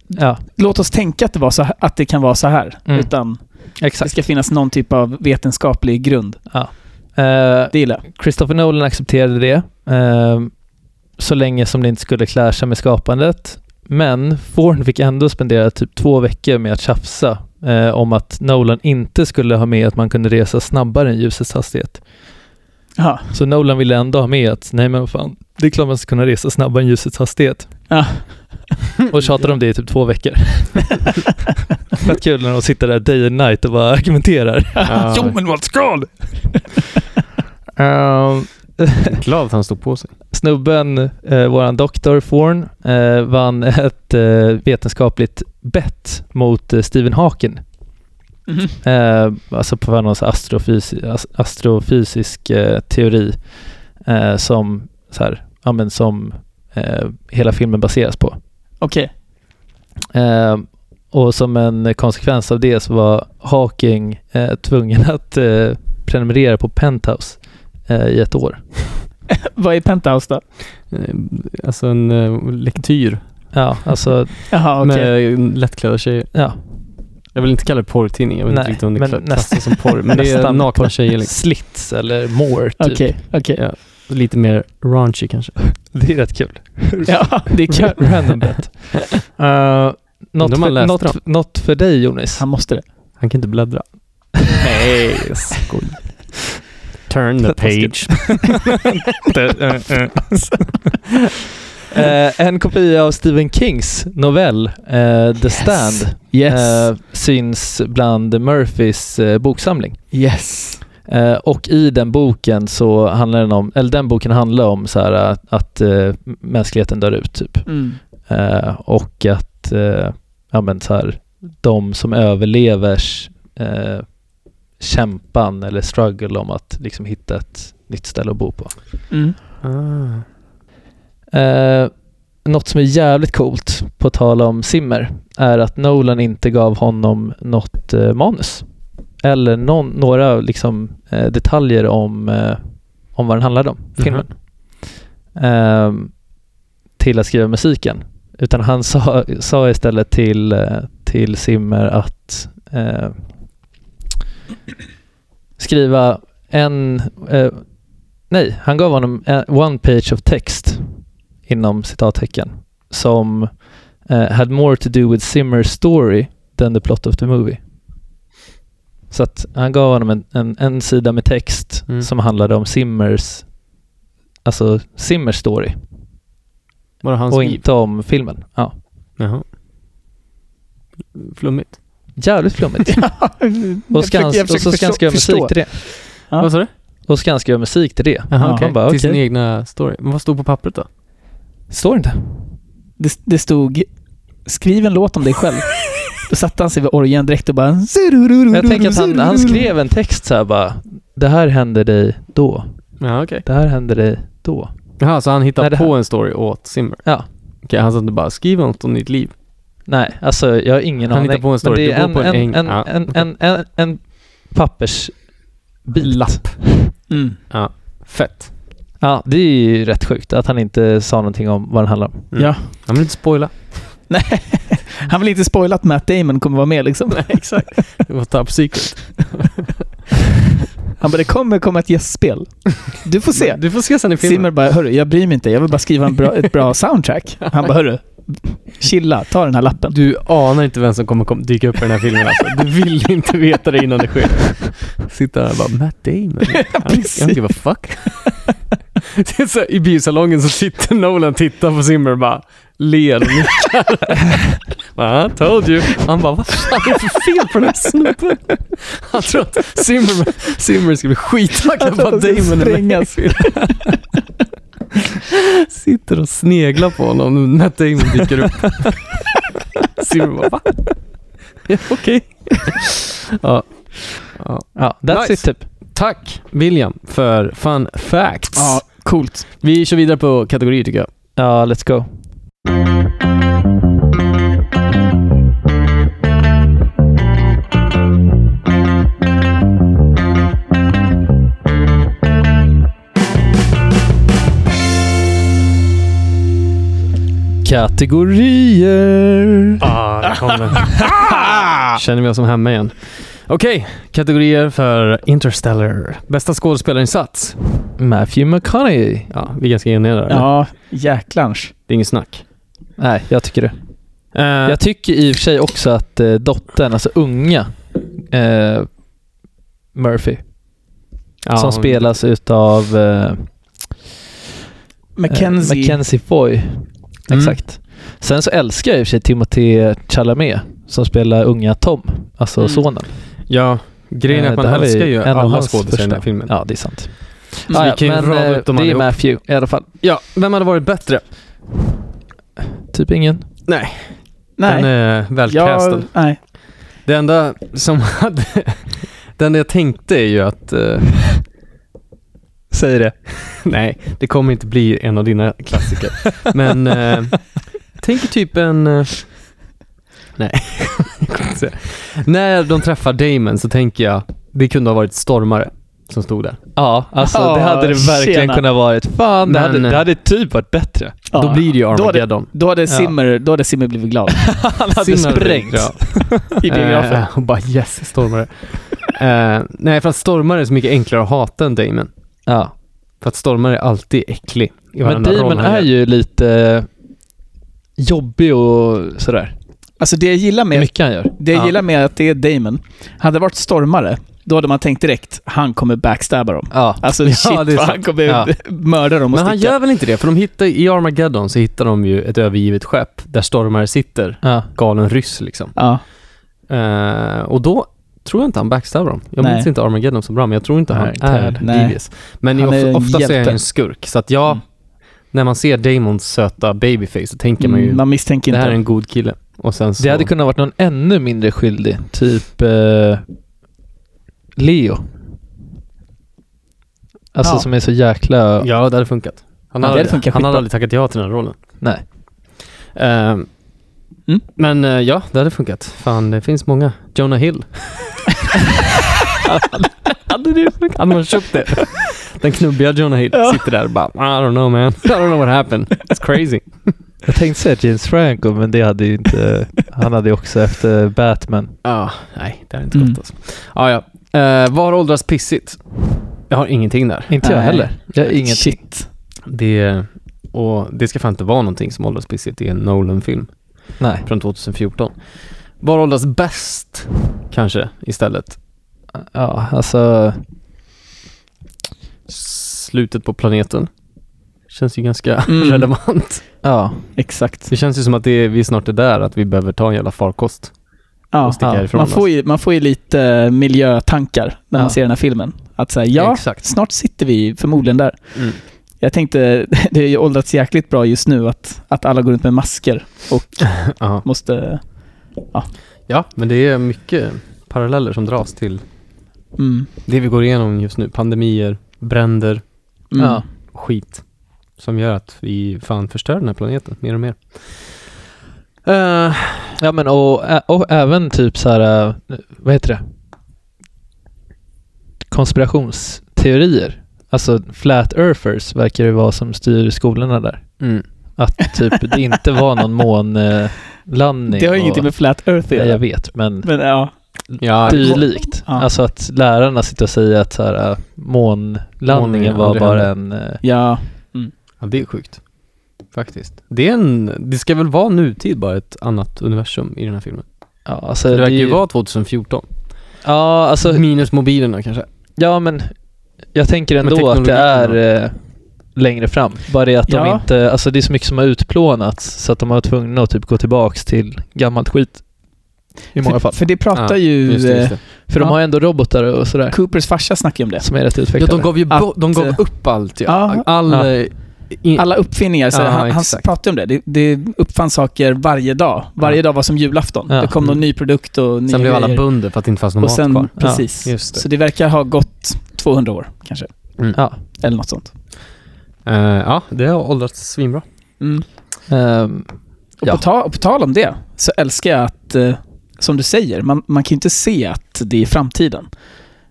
Speaker 7: ja,
Speaker 8: låt oss tänka att det, var så här, att det kan vara så här,
Speaker 7: Mm.
Speaker 8: utan det
Speaker 7: exakt.
Speaker 8: ska finnas någon typ av vetenskaplig grund.
Speaker 7: Eh,
Speaker 8: Det gillar jag.
Speaker 7: Christopher Nolan accepterade det, ehm, så länge som det inte skulle clasha med skapandet. Men Forn fick ändå spendera typ två veckor med att tjafsa eh, om att Nolan inte skulle ha med att man kunde resa snabbare än ljusets hastighet.
Speaker 8: Ja.
Speaker 7: Så Nolan ville ändå ha med att, nej men vad fan, det är klart man ska kunna resa snabbare än ljusets hastighet.
Speaker 8: Ja.
Speaker 7: Och tjatade om det i typ två veckor. Fett kul när de sitter där day and night och bara argumenterar.
Speaker 1: Ja, jag
Speaker 7: men vad skal! Ehm,
Speaker 1: är glad att han stod på sig.
Speaker 7: Snubben, eh, våran doktor Forn, eh, vann ett eh, vetenskapligt bett mot eh, Stephen Hawking.
Speaker 8: Mhm.
Speaker 7: Eh, alltså på någon så här astrofysi- as- astrofysisk eh, teori eh, som, så här, ja, men som eh, hela filmen baseras på.
Speaker 8: Okej.
Speaker 7: Eh, och som en konsekvens av det så var Hawking eh, tvungen att eh, prenumerera på Penthouse eh, i ett år.
Speaker 8: Vad är Penthouse då?
Speaker 1: Eh, Alltså en eh, lektyr
Speaker 7: Ja, alltså
Speaker 8: Jaha, okej.
Speaker 1: eh, med lättklädda tjejer.
Speaker 7: Ja.
Speaker 1: Jag vill inte kalla det porrtidning, jag vill
Speaker 7: Nej,
Speaker 1: inte riktigt om det
Speaker 7: men
Speaker 1: klassas som porr. Men det är
Speaker 7: nästan
Speaker 1: nakna
Speaker 7: porr.
Speaker 1: tjejer liksom.
Speaker 7: Slits eller more typ.
Speaker 8: Okej, okej.
Speaker 1: Lite mer raunchy kanske.
Speaker 7: Det är rätt kul.
Speaker 8: Ja, det är kul.
Speaker 7: Random bet.
Speaker 1: Ehm,
Speaker 7: Uh, något,
Speaker 1: Undrar om han
Speaker 7: för,
Speaker 1: läste
Speaker 7: något,
Speaker 1: dem.
Speaker 7: f- något för dig Jonas.
Speaker 8: Han måste det.
Speaker 1: Han kan inte bläddra.
Speaker 7: Nej,
Speaker 1: Skoj. Turn the page.
Speaker 7: Eh, en kopia av Stephen Kings novell eh, The Stand
Speaker 8: Yes.
Speaker 7: eh, syns bland Murphys eh, boksamling.
Speaker 8: yes.
Speaker 7: Eh, och i den boken så handlar den om, eller den boken handlar om så här att, att eh, mänskligheten dör ut typ.
Speaker 8: Mm.
Speaker 7: Eh, och att eh, ja, men så här, de som överlevers eh, kämpan eller struggle om att liksom hitta ett nytt ställe att bo på.
Speaker 8: Mm.
Speaker 1: Ah.
Speaker 7: Eh, något som är jävligt coolt, på tal om Zimmer, är att Nolan inte gav honom något eh, manus. Eller någon, några liksom, eh, detaljer om, eh, om vad den handlade om, filmen. Eh, till att skriva musiken. Utan han sa, sa istället till, eh, till Zimmer att eh, skriva en... Eh, nej, han gav honom en, one page of text inom citattecken som eh, had more to do with Zimmer's story than the plot of the movie. Så att han gav honom en, en, en sida med text
Speaker 1: Mm.
Speaker 7: som handlade om Zimmers, alltså Zimmers story
Speaker 1: Var det hans
Speaker 7: och
Speaker 1: liv?
Speaker 7: inte om filmen. Ja.
Speaker 1: Jaha. Flummigt.
Speaker 7: Jävligt flummigt.
Speaker 8: Jag
Speaker 7: Och ska
Speaker 8: försöker-
Speaker 7: han,
Speaker 8: jag
Speaker 7: och så
Speaker 8: försöker
Speaker 7: ska han skriva
Speaker 8: förstå-
Speaker 7: musik
Speaker 8: förstå.
Speaker 7: till det.
Speaker 8: Ja.
Speaker 1: Vad sa du?
Speaker 7: Och ska han skriva musik till det.
Speaker 1: Jaha,
Speaker 8: Ja.
Speaker 1: okej.
Speaker 7: Man bara,
Speaker 1: Till sin
Speaker 7: okej.
Speaker 1: egna story. Men vad stod på pappret då?
Speaker 7: Står inte.
Speaker 8: Det, det stod “Skriv en låt om dig själv”. Då satte han sig vid orgeln direkt och bara...
Speaker 7: Jag tänker att han, han skrev en text så här bara. Det här hände dig då.
Speaker 1: Ja, okej.
Speaker 7: Det här hände dig då.
Speaker 1: Jaha, så han hittade
Speaker 7: Nej, det här-
Speaker 1: på en story åt Zimmer?
Speaker 7: Ja.
Speaker 1: Okej, han sa inte bara “skriv något om ditt liv”.
Speaker 7: Nej, alltså jag har ingen
Speaker 1: Han
Speaker 7: aning.
Speaker 1: hittar på en
Speaker 7: Men
Speaker 1: story.
Speaker 7: det är
Speaker 1: Du
Speaker 7: en,
Speaker 1: bor på en äng.
Speaker 7: en, en,
Speaker 1: Ja,
Speaker 7: en,
Speaker 1: okej.
Speaker 7: en, en, en pappersbit.
Speaker 1: Lapp.
Speaker 8: Mm.
Speaker 1: Fett.
Speaker 7: Ja, det är ju rätt sjukt att han inte sa någonting om vad den handlar om.
Speaker 1: Mm.
Speaker 8: Ja.
Speaker 1: Han vill inte spoila.
Speaker 8: Nej. Han vill inte spoila att Matt Damon kommer vara med liksom. Nej, exakt.
Speaker 1: Det var top secret.
Speaker 8: Han bara, det kommer komma ett gästspel. Du får se.
Speaker 1: Du får se sen i filmen.
Speaker 8: Zimmer bara, hörru, jag bryr mig inte. Jag vill bara skriva en bra, ett bra soundtrack. Han bara, hörru, chilla, ta den här lappen.
Speaker 1: Du anar inte vem som kommer kom- dyka upp i den här filmen alltså. Du vill inte veta det innan det sker. Sitter där och bara “Matt Damon”. Han,
Speaker 8: Precis.
Speaker 1: han give a fuck. Det är så, I biosalongen så sitter Nolan och tittar på Zimmer och bara ler och nickar. Bara, I told you. Han bara “Vad fan är det för fel på den här snubben?” Han tror att Zimmer, Zimmer ska bli skittaggad på att
Speaker 8: ska
Speaker 1: Damon är med.
Speaker 8: sprängas.
Speaker 1: Sitter och sneglar på honom när Matt Damon dyker upp. Simon bara va? Ja, Okej. Ja. ja.
Speaker 7: Ja, that's
Speaker 1: Nice.
Speaker 7: it typ.
Speaker 1: Tack William för fun facts.
Speaker 8: Ja, coolt.
Speaker 1: Vi kör vidare på kategorier tycker jag.
Speaker 7: Ja, let's go. Kategorier.
Speaker 1: Ah, där kom den. Känner vi oss som hemma igen. Okej, kategorier för Interstellar. Bästa skådespelarinsats.
Speaker 7: Matthew McConaughey.
Speaker 1: Ja, vi är ganska eniga där. eller?
Speaker 8: Ja, jäklarns.
Speaker 1: Det är inget snack.
Speaker 7: Nej, jag tycker det.
Speaker 1: Eh,
Speaker 7: Jag tycker i och för sig också att eh, dottern, alltså unga eh, Murphy,
Speaker 1: ja,
Speaker 7: som
Speaker 1: hon-
Speaker 7: spelas utav eh,
Speaker 8: Mackenzie.
Speaker 7: eh, Mackenzie Foy.
Speaker 1: Mm.
Speaker 7: Exakt. Sen så älskar jag i och för sig Timothée Chalamet som spelar unga Tom, alltså
Speaker 8: Mm.
Speaker 7: sonen.
Speaker 1: Ja, grejen är
Speaker 7: Eh,
Speaker 1: att man
Speaker 7: det här var
Speaker 1: älskar ju
Speaker 7: en av
Speaker 1: alla
Speaker 7: hans
Speaker 1: skådespelare i den här
Speaker 7: första.
Speaker 1: filmen.
Speaker 7: Ja, det är sant.
Speaker 8: Mm.
Speaker 7: Ah,
Speaker 1: vi
Speaker 7: ja,
Speaker 1: kan ju
Speaker 7: men
Speaker 1: rada
Speaker 7: eh,
Speaker 1: upp dem
Speaker 7: det är
Speaker 1: allihop.
Speaker 7: Matthew i alla fall.
Speaker 1: Ja, vem hade varit bättre?
Speaker 7: Typ ingen.
Speaker 1: Den
Speaker 8: nej.
Speaker 1: är välcastad.
Speaker 8: Jag, nej.
Speaker 1: Det enda som hade... Det enda jag tänkte är ju att... eh,
Speaker 7: Säg det.
Speaker 1: nej, det kommer inte bli en av dina klassiker. Men eh, jag tänker typ en... eh, nej, jag kommer inte säga. När de träffar Damon så tänker jag, det kunde ha varit stormare. som stod där.
Speaker 7: Ja, alltså det
Speaker 8: Ja,
Speaker 7: hade det verkligen
Speaker 8: tjena.
Speaker 7: kunnat varit. Fan, det,
Speaker 1: Men-
Speaker 7: hade, det hade typ varit bättre.
Speaker 8: Ja.
Speaker 1: Då blir det ju Armageddon.
Speaker 8: Då hade Simmer, då hade Simmer blivit glad
Speaker 7: Han hade
Speaker 1: Simmer-
Speaker 7: sprängt
Speaker 1: Ja.
Speaker 8: i biografen.
Speaker 1: Eh, och bara yes, stormare. Eh, nej, för att stormare är så mycket enklare att hata än Damon.
Speaker 7: Ja.
Speaker 1: För att stormare är alltid äcklig. I
Speaker 7: Men
Speaker 1: varenda roll
Speaker 7: Damon
Speaker 1: han gör.
Speaker 7: är ju lite jobbig och sådär.
Speaker 8: Alltså det jag gillar med,
Speaker 7: Mycket han gör.
Speaker 8: det jag
Speaker 1: Ja.
Speaker 8: gillar med att det är Damon, hade det varit stormare, då hade man tänkt direkt, han kommer backstabba dem.
Speaker 7: Ja.
Speaker 8: Alltså
Speaker 1: Ja,
Speaker 8: shit
Speaker 1: det är
Speaker 8: vad
Speaker 1: sant.
Speaker 8: han kommer
Speaker 7: Ja.
Speaker 8: mörda dem och
Speaker 1: Men han
Speaker 8: sticka.
Speaker 1: gör väl inte det? För de hittar, i Armageddon så hittar de ju ett övergivet skepp där stormare sitter,
Speaker 7: Ja.
Speaker 1: galen ryss liksom.
Speaker 8: Ja.
Speaker 1: Eh, och då tror jag inte han backstabbar dem. Jag
Speaker 8: Nej.
Speaker 1: minns inte Armageddon så bra, men jag tror inte
Speaker 7: Nej,
Speaker 1: han är
Speaker 7: Ted.
Speaker 8: Nej.
Speaker 1: devious. Men
Speaker 8: Han
Speaker 1: of,
Speaker 8: är en
Speaker 1: ofta så är han
Speaker 8: hjälte.
Speaker 1: ju en skurk, så att jag,
Speaker 8: Mm.
Speaker 1: när man ser Damons söta babyface så tänker man ju,
Speaker 8: Mm, man misstänker
Speaker 1: det
Speaker 8: inte.
Speaker 1: här är en god kille. Och sen så,
Speaker 7: Det hade kunnat varit någon ännu mindre skyldig. Typ eh, Leo. Alltså
Speaker 8: Ja.
Speaker 7: som är så jäkla...
Speaker 1: Ja, det hade funkat. Han
Speaker 8: Ja, det
Speaker 1: hade,
Speaker 8: hade funkat
Speaker 1: han
Speaker 8: skitbra.
Speaker 1: hade aldrig tackat ja till den här rollen.
Speaker 7: Nej.
Speaker 1: Ehm,
Speaker 8: Mm.
Speaker 1: Men eh, ja, det hade funkat. Fan, det finns många. Jonah Hill. hade det funkat? Hade man köpt det? Den knubbiga Jonah Hill sitter där och bara "Ah, I don't know man. I don't know what happened. It's crazy.
Speaker 7: Jag tänkte säga James Franco, men det hade ju inte... han hade ju också efter Batman.
Speaker 1: Ja, nej, det hade inte
Speaker 8: Mm.
Speaker 1: gått alltså. Ah, ja. Eh, var åldras pissigt? Jag har ingenting där.
Speaker 7: Inte jag
Speaker 8: Nej.
Speaker 7: heller. Jag har ingenting.
Speaker 8: Shit.
Speaker 1: Det, och det ska fan inte vara någonting som åldras pissigt i en Nolan-film.
Speaker 7: Nej.
Speaker 1: från 2014. Var åldras bäst kanske istället?
Speaker 7: Ja, alltså...
Speaker 1: Slutet på planeten. Känns ju ganska
Speaker 8: Mm.
Speaker 1: relevant.
Speaker 7: Ja.
Speaker 8: Exakt.
Speaker 1: Det känns ju som att det är, vi snart är där, att vi behöver ta en jävla farkost.
Speaker 8: Ja.
Speaker 1: sticka härifrån
Speaker 8: Man, får
Speaker 1: alltså.
Speaker 8: ju, man får ju lite eh, miljötankar när
Speaker 7: Ja.
Speaker 8: man ser den här filmen. Att säga ja,
Speaker 1: Exakt.
Speaker 8: snart sitter vi förmodligen där.
Speaker 1: Mm.
Speaker 8: Jag tänkte, det är ju åldrats jäkligt bra just nu att, att alla går runt med masker och
Speaker 1: Ja.
Speaker 8: måste...
Speaker 1: ja, men det är mycket paralleller som dras till
Speaker 8: Mm,
Speaker 1: det vi går igenom just nu. Pandemier, bränder,
Speaker 8: mm.
Speaker 7: Ja.
Speaker 1: skit. Som gör att vi fan förstör den här planeten mer och mer. Eh,
Speaker 7: Ja men och, ä- och även typ så här, äh, vad heter det? Konspirationsteorier. Alltså flat earthers verkar det vara som styr skolorna där.
Speaker 1: mm.
Speaker 7: Att typ det inte var någon månlandning.
Speaker 8: Det har ju ingenting med flat earth att
Speaker 7: Nej, jag
Speaker 8: göra.
Speaker 7: vet, men
Speaker 8: Men ja,
Speaker 1: Ja,
Speaker 7: dylikt.
Speaker 8: Ja.
Speaker 7: Alltså att lärarna sitter och säger att så här, äh, månlandningen
Speaker 1: Månlandningen
Speaker 7: var
Speaker 1: aldrig
Speaker 7: bara en... äh,
Speaker 8: ja,
Speaker 1: Ja, det är sjukt. Faktiskt. Det, är en, det ska väl vara nutid, bara ett annat universum i den här filmen.
Speaker 7: Ja, alltså,
Speaker 1: Det verkar ju
Speaker 7: är-
Speaker 1: vara 2014.
Speaker 7: Ja, alltså
Speaker 1: Minus mobilerna kanske.
Speaker 7: Ja, men jag tänker
Speaker 1: Men
Speaker 7: ändå att det
Speaker 1: teknologin
Speaker 7: är eh, längre fram. Bara det att de
Speaker 8: Ja.
Speaker 7: inte, alltså det är så mycket som har utplånats så att de har varit tvungna att typ gå tillbaks till gammalt skit. I många
Speaker 8: för,
Speaker 7: fall.
Speaker 8: för det pratar
Speaker 1: Ja,
Speaker 8: ju...
Speaker 1: Just det, just det.
Speaker 7: För de
Speaker 8: ja.
Speaker 7: har ju ändå robotar och sådär.
Speaker 8: eh, Coopers farsa snackar ju om det.
Speaker 7: Som är rätt
Speaker 1: Ja,
Speaker 7: utvecklade.
Speaker 1: de gav ju
Speaker 8: Att,
Speaker 1: bo- de gav
Speaker 8: eh,
Speaker 1: upp allt ju.
Speaker 8: ja.
Speaker 1: All,
Speaker 7: Ja.
Speaker 1: eh, in-
Speaker 8: Alla uppfinningar, så
Speaker 1: Ja,
Speaker 8: han, han
Speaker 1: exakt.
Speaker 8: pratar ju om det. det. Det uppfanns saker varje dag. Varje dag var som julafton.
Speaker 7: Ja.
Speaker 8: Det kom någon ny produkt och nya
Speaker 1: Mm. sen blev alla
Speaker 8: grejer.
Speaker 1: bönder för att det inte fanns någon
Speaker 8: Och
Speaker 1: mat
Speaker 8: sen,
Speaker 1: kvar.
Speaker 8: precis.
Speaker 1: Ja, just det. Mm.
Speaker 8: Så det verkar ha gått 200 år kanske.
Speaker 7: Ja.
Speaker 8: Eller något sånt.
Speaker 1: Eh, ja, det har åldrats svinbra.
Speaker 8: Mm.
Speaker 7: Ehm,
Speaker 8: Och,
Speaker 7: Ja.
Speaker 8: på ta, och på tal om det, så älskar jag att, eh, som du säger, man, man kan ju inte se att det är framtiden.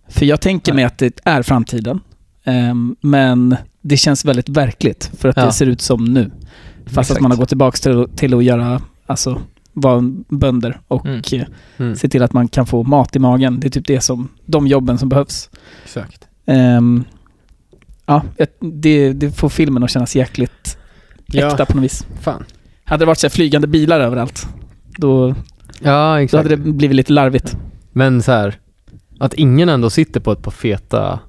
Speaker 8: För jag tänker mig att det är framtiden, ehm, men det känns väldigt verkligt för att
Speaker 7: Ja.
Speaker 8: det ser ut som nu. Fast
Speaker 7: Exakt.
Speaker 8: att man har gått tillbaka till, till att göra, alltså vara en bönder och
Speaker 7: Mm.
Speaker 8: eh,
Speaker 1: Mm.
Speaker 8: se till att man kan få mat i magen. Det är typ det som, de jobben som behövs.
Speaker 1: Exakt.
Speaker 8: Ehm, ja, ett- det, det får filmen att kännas jäkligt
Speaker 1: Ja.
Speaker 8: äkta på något vis.
Speaker 1: Fan.
Speaker 8: Hade det varit så här flygande bilar överallt, då,
Speaker 1: Ja,
Speaker 8: då
Speaker 1: exakt.
Speaker 8: hade det blivit lite larvigt.
Speaker 1: Men så här, att ingen ändå sitter på ett par feta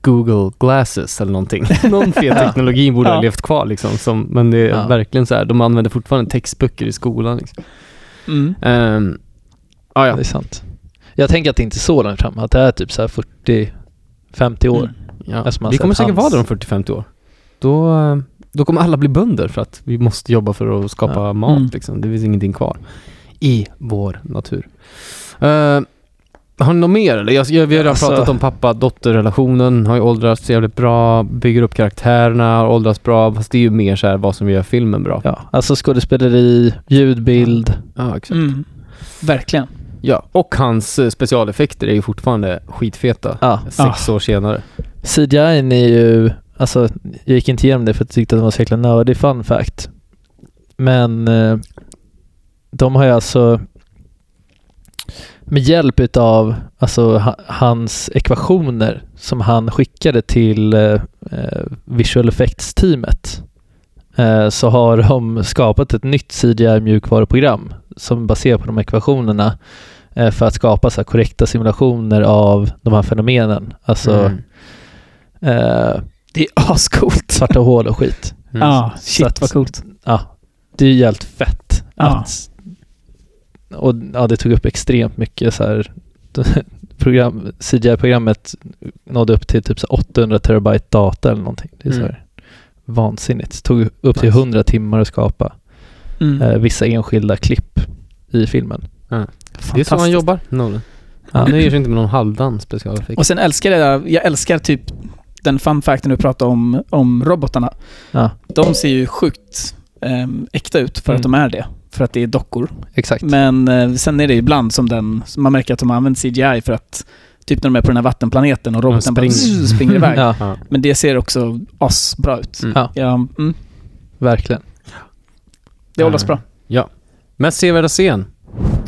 Speaker 1: Google glasses eller någonting. Någon fet teknologi borde ha
Speaker 8: Ja.
Speaker 1: levt kvar liksom. Som, men det är
Speaker 7: Ja.
Speaker 1: verkligen så här, de använder fortfarande textböcker i skolan. Liksom.
Speaker 8: Mm.
Speaker 1: Um, ah, ja.
Speaker 7: Det är sant. Jag tänker att det inte är så långt fram. Att det är typ så här 40-50 år.
Speaker 8: Mm.
Speaker 1: ja.
Speaker 7: Eftersom man
Speaker 1: Vi
Speaker 7: sett
Speaker 1: kommer säkert vara
Speaker 7: hans-
Speaker 1: där om 40-50 år. Då, eh, då kommer alla bli bönder för att vi måste jobba för att skapa
Speaker 7: Ja.
Speaker 1: mat.
Speaker 8: Mm.
Speaker 1: Liksom. Det finns ingenting kvar i vår natur. Eh, har ni något mer eller? Jag, jag, vi har redan
Speaker 7: Alltså-
Speaker 1: pratat om pappa-dotter-relationen, har ju åldrats jävligt bra, bygger upp karaktärerna, har åldrats bra. Fast det är ju mer så här vad som gör filmen bra.
Speaker 7: Ja, alltså skådespeleri, ljudbild.
Speaker 1: Ja, exakt.
Speaker 8: Mm. Verkligen.
Speaker 7: Ja.
Speaker 1: Och hans eh, specialeffekter är ju fortfarande skitfeta.
Speaker 7: Ja.
Speaker 1: Sex år senare.
Speaker 7: CGI är ju... Alltså, jag gick inte igenom det för att jag tyckte att det var så jäkla nördig fun fact. Men eh, de har ju alltså med hjälp utav alltså, ha- hans ekvationer som han skickade till eh, eh, visual effects-teamet eh, så har de skapat ett nytt CGI-mjukvaruprogram som baserar på de ekvationerna eh, för att skapa så här, korrekta simulationer av de här fenomenen. Alltså
Speaker 1: Mm.
Speaker 7: eh,
Speaker 8: Det är ascoolt.
Speaker 7: svarta hål och skit.
Speaker 1: Mm.
Speaker 8: Ja,
Speaker 7: Så
Speaker 8: shit
Speaker 7: att-
Speaker 8: vad coolt.
Speaker 7: Ja, det är ju helt fett.
Speaker 8: Ja.
Speaker 7: Att, och ja, det tog upp extremt mycket så här program, CGI-programmet nådde upp till typ så här 800 terabyte data eller någonting. Det är så här vansinnigt. Tog upp till
Speaker 1: Mm. Nice.
Speaker 7: 100 timmar att skapa
Speaker 8: Mm.
Speaker 7: eh, vissa enskilda klipp i filmen.
Speaker 1: Det är så han
Speaker 8: Fantastiskt.
Speaker 1: jobbar, Nolan.
Speaker 7: Ja.
Speaker 1: Han nöjer sig inte med någon halvdan specialeffekt.
Speaker 8: Och sen älskar jag, jag älskar typ den fun facten du pratade om, om robotarna.
Speaker 7: Ja.
Speaker 8: De ser ju sjukt ehm, äkta ut för att
Speaker 7: Mm.
Speaker 8: de är det. För att det är dockor.
Speaker 7: Exakt.
Speaker 8: Men eh, sen är det ju ibland som den, som man märker att de har använt CGI för att typ när de är på den här vattenplaneten och roboten bara
Speaker 1: springer.
Speaker 8: zzz, springer iväg.
Speaker 7: ja,
Speaker 1: Ja.
Speaker 8: Men det ser också asbra ut.
Speaker 1: Mm.
Speaker 7: Ja.
Speaker 8: Ja, mm,
Speaker 7: verkligen.
Speaker 8: det håller oss bra.
Speaker 1: Mest sevärda scen.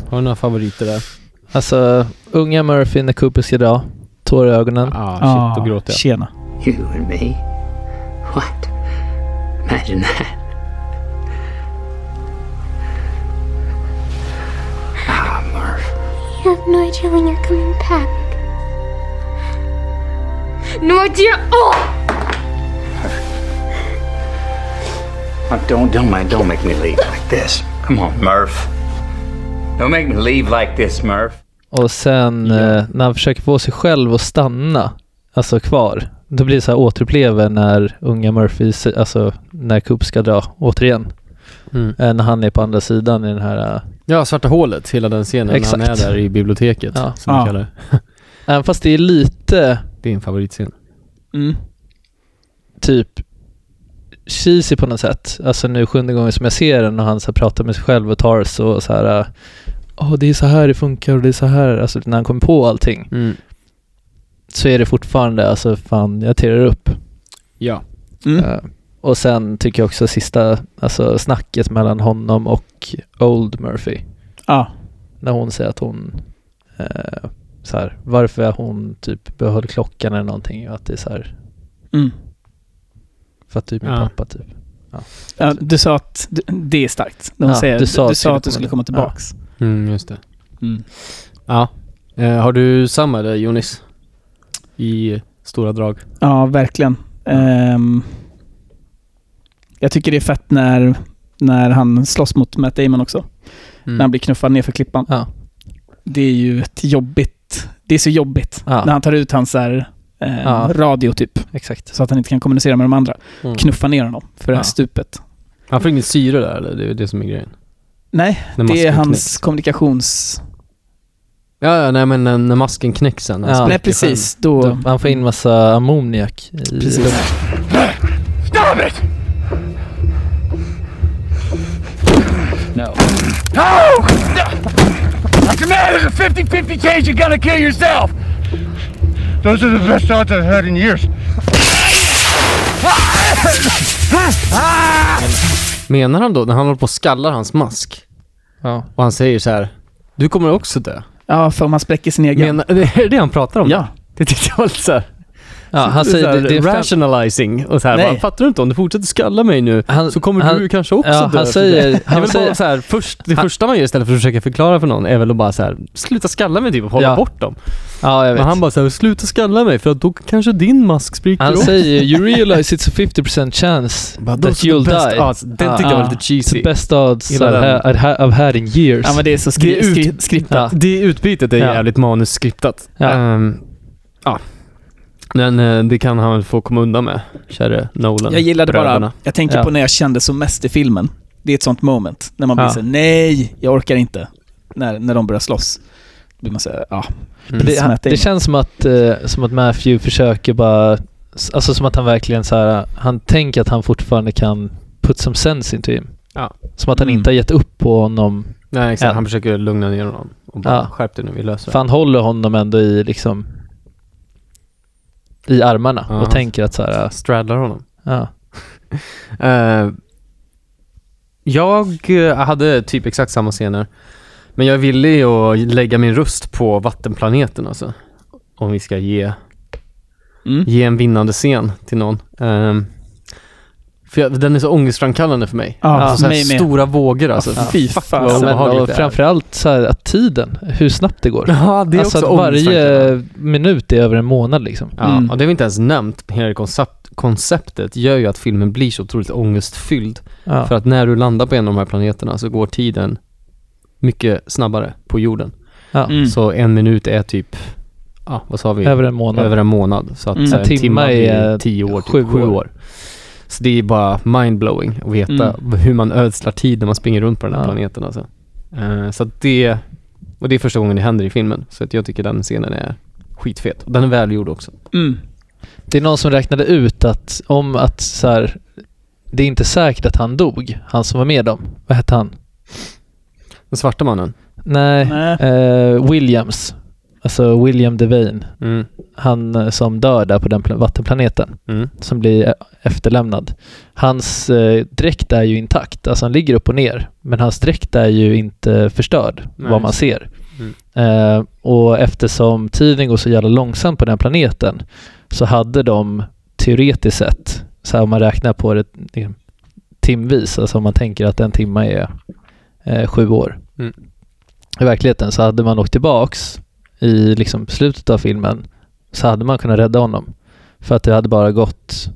Speaker 1: Har du några favoriter där?
Speaker 7: Alltså, unga Murphy när Cooper ska dra. Tår i ögonen.
Speaker 1: Ah, shit, då gråter jag.
Speaker 8: Tjena.
Speaker 9: You and me? What? Imagine that.
Speaker 6: You have no idea when you're coming back. No idea. Oh!
Speaker 9: Oh, don't, don't mind. Don't make me leave like this. Come on, Murph. Don't make me leave like this, Murph.
Speaker 7: Och sen eh, när han försöker få sig själv att stanna, alltså kvar, då blir det så här återuppleva när unga Murphy, se- alltså när Coop ska dra, återigen.
Speaker 1: Mm.
Speaker 7: Eh, när han är på andra sidan i den här, eh,
Speaker 1: Ja, Svarta Hålet, hela den scenen när han är
Speaker 7: Exakt.
Speaker 1: där i biblioteket.
Speaker 7: Ja.
Speaker 1: Som
Speaker 8: Ja.
Speaker 1: du kallar det.
Speaker 7: även fast det är lite
Speaker 1: Din favoritscen.
Speaker 8: Mm.
Speaker 7: typ cheesy på något sätt. Alltså nu sjunde gången som jag ser den och han så här pratar med sig själv och tar så, och så här, eh, åh det är så här det funkar och det är så här, alltså när han kommer på
Speaker 10: Mm.
Speaker 7: allting,
Speaker 8: Mm.
Speaker 7: så är det fortfarande, alltså fan jag terar upp.
Speaker 1: Ja.
Speaker 8: Mm.
Speaker 7: Eh, Och sen tycker jag också sista, alltså snacket mellan honom och Old Murphy.
Speaker 8: Ja.
Speaker 7: När hon säger att hon, eh, så här, varför hon typ behöll klockan eller någonting och att det är så här,
Speaker 8: Mm.
Speaker 7: för att du är min
Speaker 1: Ja.
Speaker 7: pappa typ.
Speaker 8: Ja, du sa att du, det är starkt. När hon
Speaker 7: Ja,
Speaker 8: säger,
Speaker 7: du
Speaker 8: du
Speaker 7: sa
Speaker 8: sa,
Speaker 7: att
Speaker 8: du
Speaker 7: du
Speaker 8: sa att
Speaker 7: skulle
Speaker 8: du skulle
Speaker 7: komma-
Speaker 8: komma tillbaks.
Speaker 1: Mm, just det.
Speaker 8: Mm.
Speaker 1: Ja. Eh, har du samma där, Jonis? I stora drag.
Speaker 8: Ja, verkligen. Ehm, jag tycker det är fett när, när han slåss mot Matt Damon också. När han blir knuffad ner för klippan.
Speaker 7: Mm. Ja.
Speaker 8: Det är ju ett jobbigt... Det är så jobbigt.
Speaker 7: Ja.
Speaker 8: När han tar ut hans här, eh,
Speaker 7: Ja.
Speaker 8: radio typ,
Speaker 7: Exakt.
Speaker 8: så att han inte kan kommunicera med de andra.
Speaker 1: Mm.
Speaker 8: Knuffa ner honom för det här
Speaker 1: Ja.
Speaker 8: stupet.
Speaker 1: Han får inget syre där eller? Det är ju det som är grejen.
Speaker 8: Nej,
Speaker 1: När
Speaker 8: det är
Speaker 1: masken
Speaker 8: hans
Speaker 1: knäcks.
Speaker 8: kommunikations...
Speaker 1: Ja, ja, nej men när, när masken knäcks sen. när han
Speaker 7: Ja.
Speaker 1: spricker
Speaker 8: Nej, precis. Då...
Speaker 7: Då, han får in massa ammoniak i luften.
Speaker 8: Precis.
Speaker 4: Stop it!
Speaker 5: No.
Speaker 4: No! I commanded a 50 50 chance you're gonna kill yourself! Those are the best shots I've had in years.
Speaker 1: själv. Menar han då, när han håller på och skallar hans mask
Speaker 7: Ja.
Speaker 1: och han säger så här. Du kommer också dö.
Speaker 8: Ja, för om han spräcker sin egen...
Speaker 1: Menar, är det det han pratar om?
Speaker 8: Ja.
Speaker 1: Det tyckte jag var lite såhär...
Speaker 7: Ja, han
Speaker 1: så
Speaker 7: säger
Speaker 1: här,
Speaker 7: det, det är fem,
Speaker 1: rationalizing och så här,
Speaker 8: Nej.
Speaker 1: bara, fattar du inte? Om du fortsätter skalla mig nu
Speaker 7: Han-
Speaker 1: så kommer
Speaker 7: han-
Speaker 1: du kanske också
Speaker 7: ja,
Speaker 1: dö. för
Speaker 7: han säger-
Speaker 1: det.
Speaker 7: han
Speaker 1: jag vill
Speaker 7: säger-
Speaker 1: bara så här, först, det
Speaker 7: han-
Speaker 1: första man gör istället för att försöka förklara för någon är väl att bara så här, sluta skalla mig typ och hålla
Speaker 7: Ja,
Speaker 1: bort dem.
Speaker 7: ja jag vet.
Speaker 1: Men han bara så här, sluta skalla mig för att då kanske din mask spricker
Speaker 7: Han
Speaker 1: också.
Speaker 7: säger you realize it's a 50% chance
Speaker 1: Bara,
Speaker 7: that
Speaker 1: "Those are
Speaker 7: you'll
Speaker 1: the best
Speaker 7: die.
Speaker 1: odds."
Speaker 7: Ah.
Speaker 1: alltså, Den
Speaker 7: Ja.
Speaker 1: tyckte jag var
Speaker 8: Ja.
Speaker 1: lite cheesy.
Speaker 7: The best odds I've,
Speaker 1: Gillar den.
Speaker 7: ha, I've ha- I've had in years.
Speaker 8: Ja, men det är så skri-
Speaker 1: Det är ut-
Speaker 8: skri- skriptat.
Speaker 7: Ja.
Speaker 1: Det utbytet är
Speaker 7: Ja.
Speaker 1: jävligt manusskriptat.
Speaker 7: Ja.
Speaker 1: Ehm, ja. Men eh, det kan han väl få komma undan med, käre Nolan.
Speaker 8: Jag gillade
Speaker 1: bröderna.
Speaker 8: bara, jag tänker
Speaker 7: Ja.
Speaker 8: på när jag kände som mest i filmen. Det är ett sånt moment, när man blir
Speaker 7: Ja.
Speaker 8: såhär, nej, jag orkar inte. När, när de börjar slåss. Då blir man såhär, ja.
Speaker 1: Mm.
Speaker 7: Det,
Speaker 8: Som
Speaker 7: han,
Speaker 8: att det är
Speaker 7: det
Speaker 8: något.
Speaker 7: känns som att, eh, som att Matthew försöker bara... s- Alltså som att han verkligen så här, Han tänker att han fortfarande kan put some sense into him.
Speaker 1: Ja.
Speaker 7: Som att han
Speaker 8: Mm.
Speaker 7: inte har gett upp på honom
Speaker 1: Nej, exakt.
Speaker 7: Än.
Speaker 1: Han försöker lugna ner honom och bara
Speaker 7: Ja.
Speaker 1: skärp dig nu, vi löser
Speaker 7: För
Speaker 1: det.
Speaker 7: han håller honom ändå i liksom i armarna
Speaker 1: Ja,
Speaker 7: och
Speaker 1: han-
Speaker 7: tänker att så här,
Speaker 1: Straddlar honom.
Speaker 7: ja.
Speaker 1: Eh, jag eh, hade typ exakt samma scener. Men jag är villig att lägga min röst på vattenplaneten alltså. Om vi ska ge,
Speaker 8: Mm.
Speaker 1: ge en vinnande scen till någon. Ehm, för jag, den är så ångestframkallande för mig.
Speaker 8: Ja,
Speaker 1: alltså,
Speaker 8: för
Speaker 1: så här
Speaker 8: mig med.
Speaker 1: stora vågor alltså.
Speaker 8: Ja, fy fan.
Speaker 1: vad
Speaker 7: Ja, men,
Speaker 1: obehagligt
Speaker 7: och
Speaker 1: det är.
Speaker 7: framförallt så här att tiden, hur snabbt det går.
Speaker 1: Ja, det är
Speaker 7: alltså
Speaker 1: också
Speaker 7: att varje
Speaker 1: ångestframkallande.
Speaker 7: minut är över en månad liksom.
Speaker 1: Ja,
Speaker 8: Mm.
Speaker 1: och det har vi inte ens nämnt. Hela koncept, konceptet gör ju att filmen blir så otroligt ångestfylld.
Speaker 7: Ja.
Speaker 1: För att när du landar på en av de här planeterna så går tiden mycket snabbare på jorden.
Speaker 7: ja.
Speaker 8: Mm.
Speaker 1: Så en minut är typ, ja vad sa vi?
Speaker 7: Över en månad.
Speaker 1: Över en månad. Så att
Speaker 8: Mm.
Speaker 1: så här,
Speaker 7: En timma
Speaker 1: timmar
Speaker 7: är
Speaker 1: blir tio år,
Speaker 7: sju
Speaker 1: typ sju
Speaker 7: år.
Speaker 1: år. Så det är bara mindblowing att veta hur man ödslar tid när man springer runt på den här
Speaker 7: Ja.
Speaker 1: planeten alltså. Eh, så att det, och det är första gången det händer i filmen. Så att jag tycker den scenen är skitfet. Och den är välgjord också.
Speaker 8: Mm.
Speaker 7: Det är någon som räknade ut att om att så här, det är inte säkert att han dog, han som var med dem. Vad hette han?
Speaker 1: Den svarta mannen.
Speaker 7: Nej,
Speaker 8: Nej.
Speaker 7: Eh, Williams. Alltså William Devane.
Speaker 1: Mm.
Speaker 7: Han eh, som dör där på den pla- vattenplaneten.
Speaker 1: Mm.
Speaker 7: som blir eh, efterlämnad. Hans eh, dräkt är ju intakt, alltså han ligger upp och ner, men hans dräkt är ju inte förstörd,
Speaker 1: Nej,
Speaker 7: vad man
Speaker 1: just Mm.
Speaker 7: ser. Eh, och eftersom tiden går så jävla långsamt på den här planeten så hade de teoretiskt sett, så här om man räknar på det eh, timvis, alltså om man tänker att en timme är eh, sju år.
Speaker 1: Mm.
Speaker 7: I verkligheten så hade man åkt tillbaks i liksom slutet av filmen så hade man kunnat rädda honom. För att det hade bara gått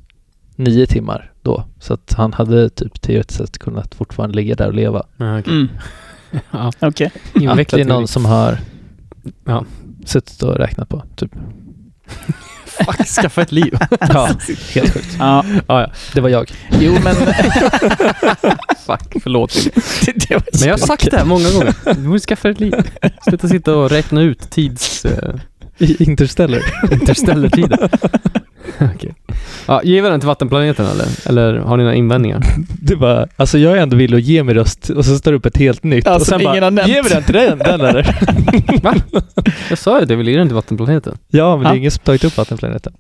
Speaker 7: nio timmar då. Så att han hade typ teoretiskt sett kunnat fortfarande ligga där och leva.
Speaker 1: Ja, Ah, okej.
Speaker 8: Mm.
Speaker 1: Ja.
Speaker 8: Okej.
Speaker 7: Att det är någon som har
Speaker 1: Ja.
Speaker 7: suttit och räknat på. Typ.
Speaker 1: Fuck, skaffa ett liv.
Speaker 7: Ja, helt sjukt.
Speaker 8: Ja.
Speaker 1: ja, ja.
Speaker 7: Det var jag.
Speaker 8: Jo, men...
Speaker 1: Fuck, förlåt.
Speaker 8: det, det var
Speaker 1: Men jag har sagt det här många gånger. Du borde skaffa ett liv. Sluta sitta och räkna ut tids... Uh,
Speaker 7: I Interstellar.
Speaker 1: interstellertiden. Okej. Ja, ger vi den till vattenplaneten eller? Eller har ni några invändningar?
Speaker 7: Det var, alltså jag är ändå villig att ge mig röst och så står det upp ett helt nytt.
Speaker 8: Ja,
Speaker 7: och
Speaker 8: som
Speaker 7: sen
Speaker 8: Alltså, ingen
Speaker 7: bara,
Speaker 8: har nämnt.
Speaker 7: ger vi den till den, den eller?
Speaker 1: Jag sa ju att jag ville ge den till vattenplaneten.
Speaker 7: Ja, men det
Speaker 8: Ja.
Speaker 7: är ingen som tagit upp vattenplaneten.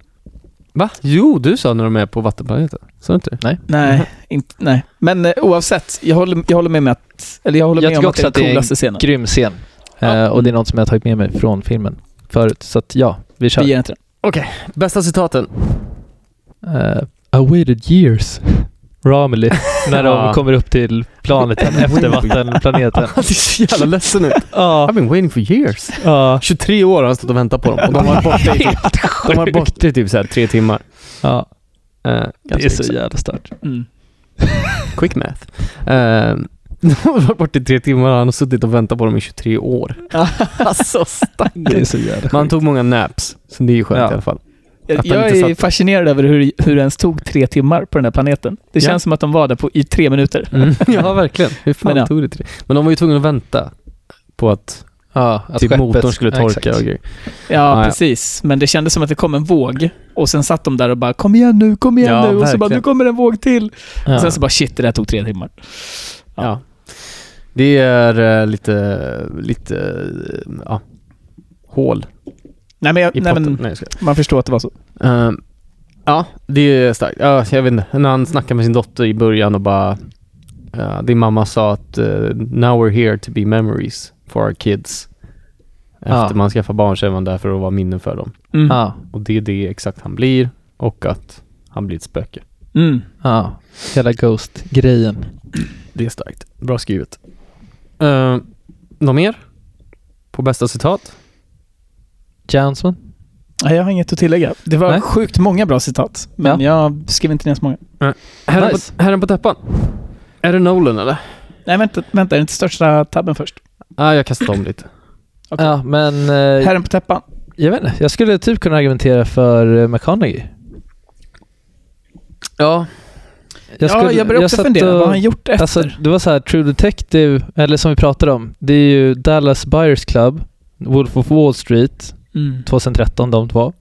Speaker 1: Va? Jo, du sa när de är på vattenplaneten. Sa du inte det?
Speaker 8: Nej, inte, nej. Men eh, oavsett, jag håller, jag håller med, med att, eller jag håller
Speaker 7: Jag
Speaker 8: med om
Speaker 7: tycker
Speaker 8: att det
Speaker 7: också att
Speaker 8: är
Speaker 7: det
Speaker 8: den
Speaker 7: är
Speaker 8: coolaste scenen.
Speaker 7: Grym scen. Eh, och det är något som jag har tagit med mig från filmen förut. Så att ja, vi kör.
Speaker 8: Vi ger inte den.
Speaker 1: Bästa citaten?
Speaker 7: Eh, I waited years. Romilly. När de
Speaker 1: Ja.
Speaker 7: kommer upp till planet efter vattenplaneten.
Speaker 1: Han ser så jävla ledsen ut. I've
Speaker 7: Ja,
Speaker 1: been waiting for years.
Speaker 7: ja,
Speaker 1: 23 år har han stått och väntat på dem och de har varit borta i typ, de har varit borta i typ så här tre timmar.
Speaker 7: ja.
Speaker 1: Eh,
Speaker 7: Det
Speaker 1: ganska
Speaker 7: är så
Speaker 1: exakt.
Speaker 7: jävla stört.
Speaker 8: Mm.
Speaker 1: Quick math. Eh, de har varit borta i tre timmar och han har suttit och väntat på dem i 23 år. alltså
Speaker 7: Det är
Speaker 1: stackars.
Speaker 7: så jävla
Speaker 1: Man tog många naps, så det är ju skönt
Speaker 7: Ja.
Speaker 1: i alla fall.
Speaker 8: Jag,
Speaker 1: Att den
Speaker 8: jag
Speaker 1: inte
Speaker 8: är
Speaker 1: satt-
Speaker 8: fascinerad över hur, hur det ens tog tre timmar på den här planeten. Det
Speaker 1: Ja.
Speaker 8: känns som att de var där på, i tre minuter.
Speaker 1: ja, verkligen. Hur fan
Speaker 8: Men ja.
Speaker 1: tog det till det? Men de var ju tvungna att vänta på att,
Speaker 7: Ja, att
Speaker 1: typ
Speaker 7: skeppet-
Speaker 1: motorn skulle
Speaker 7: ja,
Speaker 1: torka
Speaker 7: exakt.
Speaker 1: och grejer.
Speaker 8: Ja,
Speaker 1: Ah, ja.
Speaker 8: precis. Men det kändes som att det kom en våg och sen satt de där och bara kom igen nu, kom igen
Speaker 1: Ja,
Speaker 8: nu. Och så bara
Speaker 1: verkligen.
Speaker 8: nu kommer en våg till.
Speaker 7: Ja.
Speaker 8: Sen så bara shit, det där tog tre timmar.
Speaker 1: Ja. Det är eh, lite, lite, eh, ja, hål
Speaker 8: Nej men, jag,
Speaker 1: i
Speaker 8: nej,
Speaker 1: plotten.
Speaker 8: men
Speaker 1: Nej, jag skojar.
Speaker 8: man förstår att det var så.
Speaker 1: Ehm, ja, det är starkt. Ja, jag vet inte. När han snackar med sin dotter i början och bara... ja, din mamma sa att eh, now we're here to be memories for our kids. Efter
Speaker 7: Ja.
Speaker 1: man skaffar barn så är man där för att vara minnen för dem.
Speaker 8: Mm.
Speaker 7: Ja,
Speaker 1: Och det är det exakt han blir och att han blir ett spöke.
Speaker 8: Mm.
Speaker 7: ja. Hela Ghost-grejen.
Speaker 1: Det är starkt. Bra skrivet. Uh, något mer? På bästa citat?
Speaker 7: Jansson?
Speaker 8: Nej, jag har inget att tillägga. Det var
Speaker 7: Nej.
Speaker 8: sjukt många bra citat, men jag skrev inte ner så många.
Speaker 1: Herren,
Speaker 7: Nice.
Speaker 1: på, herren på täppan. Är det Nolan eller?
Speaker 8: Nej, vänta, vänta är det inte största tabben först?
Speaker 1: ah, jag kastade om lite.
Speaker 8: Okej.
Speaker 7: Ja, men eh,
Speaker 8: Herren på täppan.
Speaker 7: jag vet inte. Jag skulle typ kunna argumentera för eh, McConaughey.
Speaker 1: Ja.
Speaker 7: Jag
Speaker 8: ja,
Speaker 7: skulle-
Speaker 8: jag började också
Speaker 7: satt
Speaker 8: fundera, vad
Speaker 7: och-
Speaker 8: har han gjort efter?
Speaker 7: Alltså, det var så här, True Detective, eller som vi pratade om, det är ju Dallas Buyers Club, Wolf of Wall Street,
Speaker 8: mm.
Speaker 7: 2013 de två.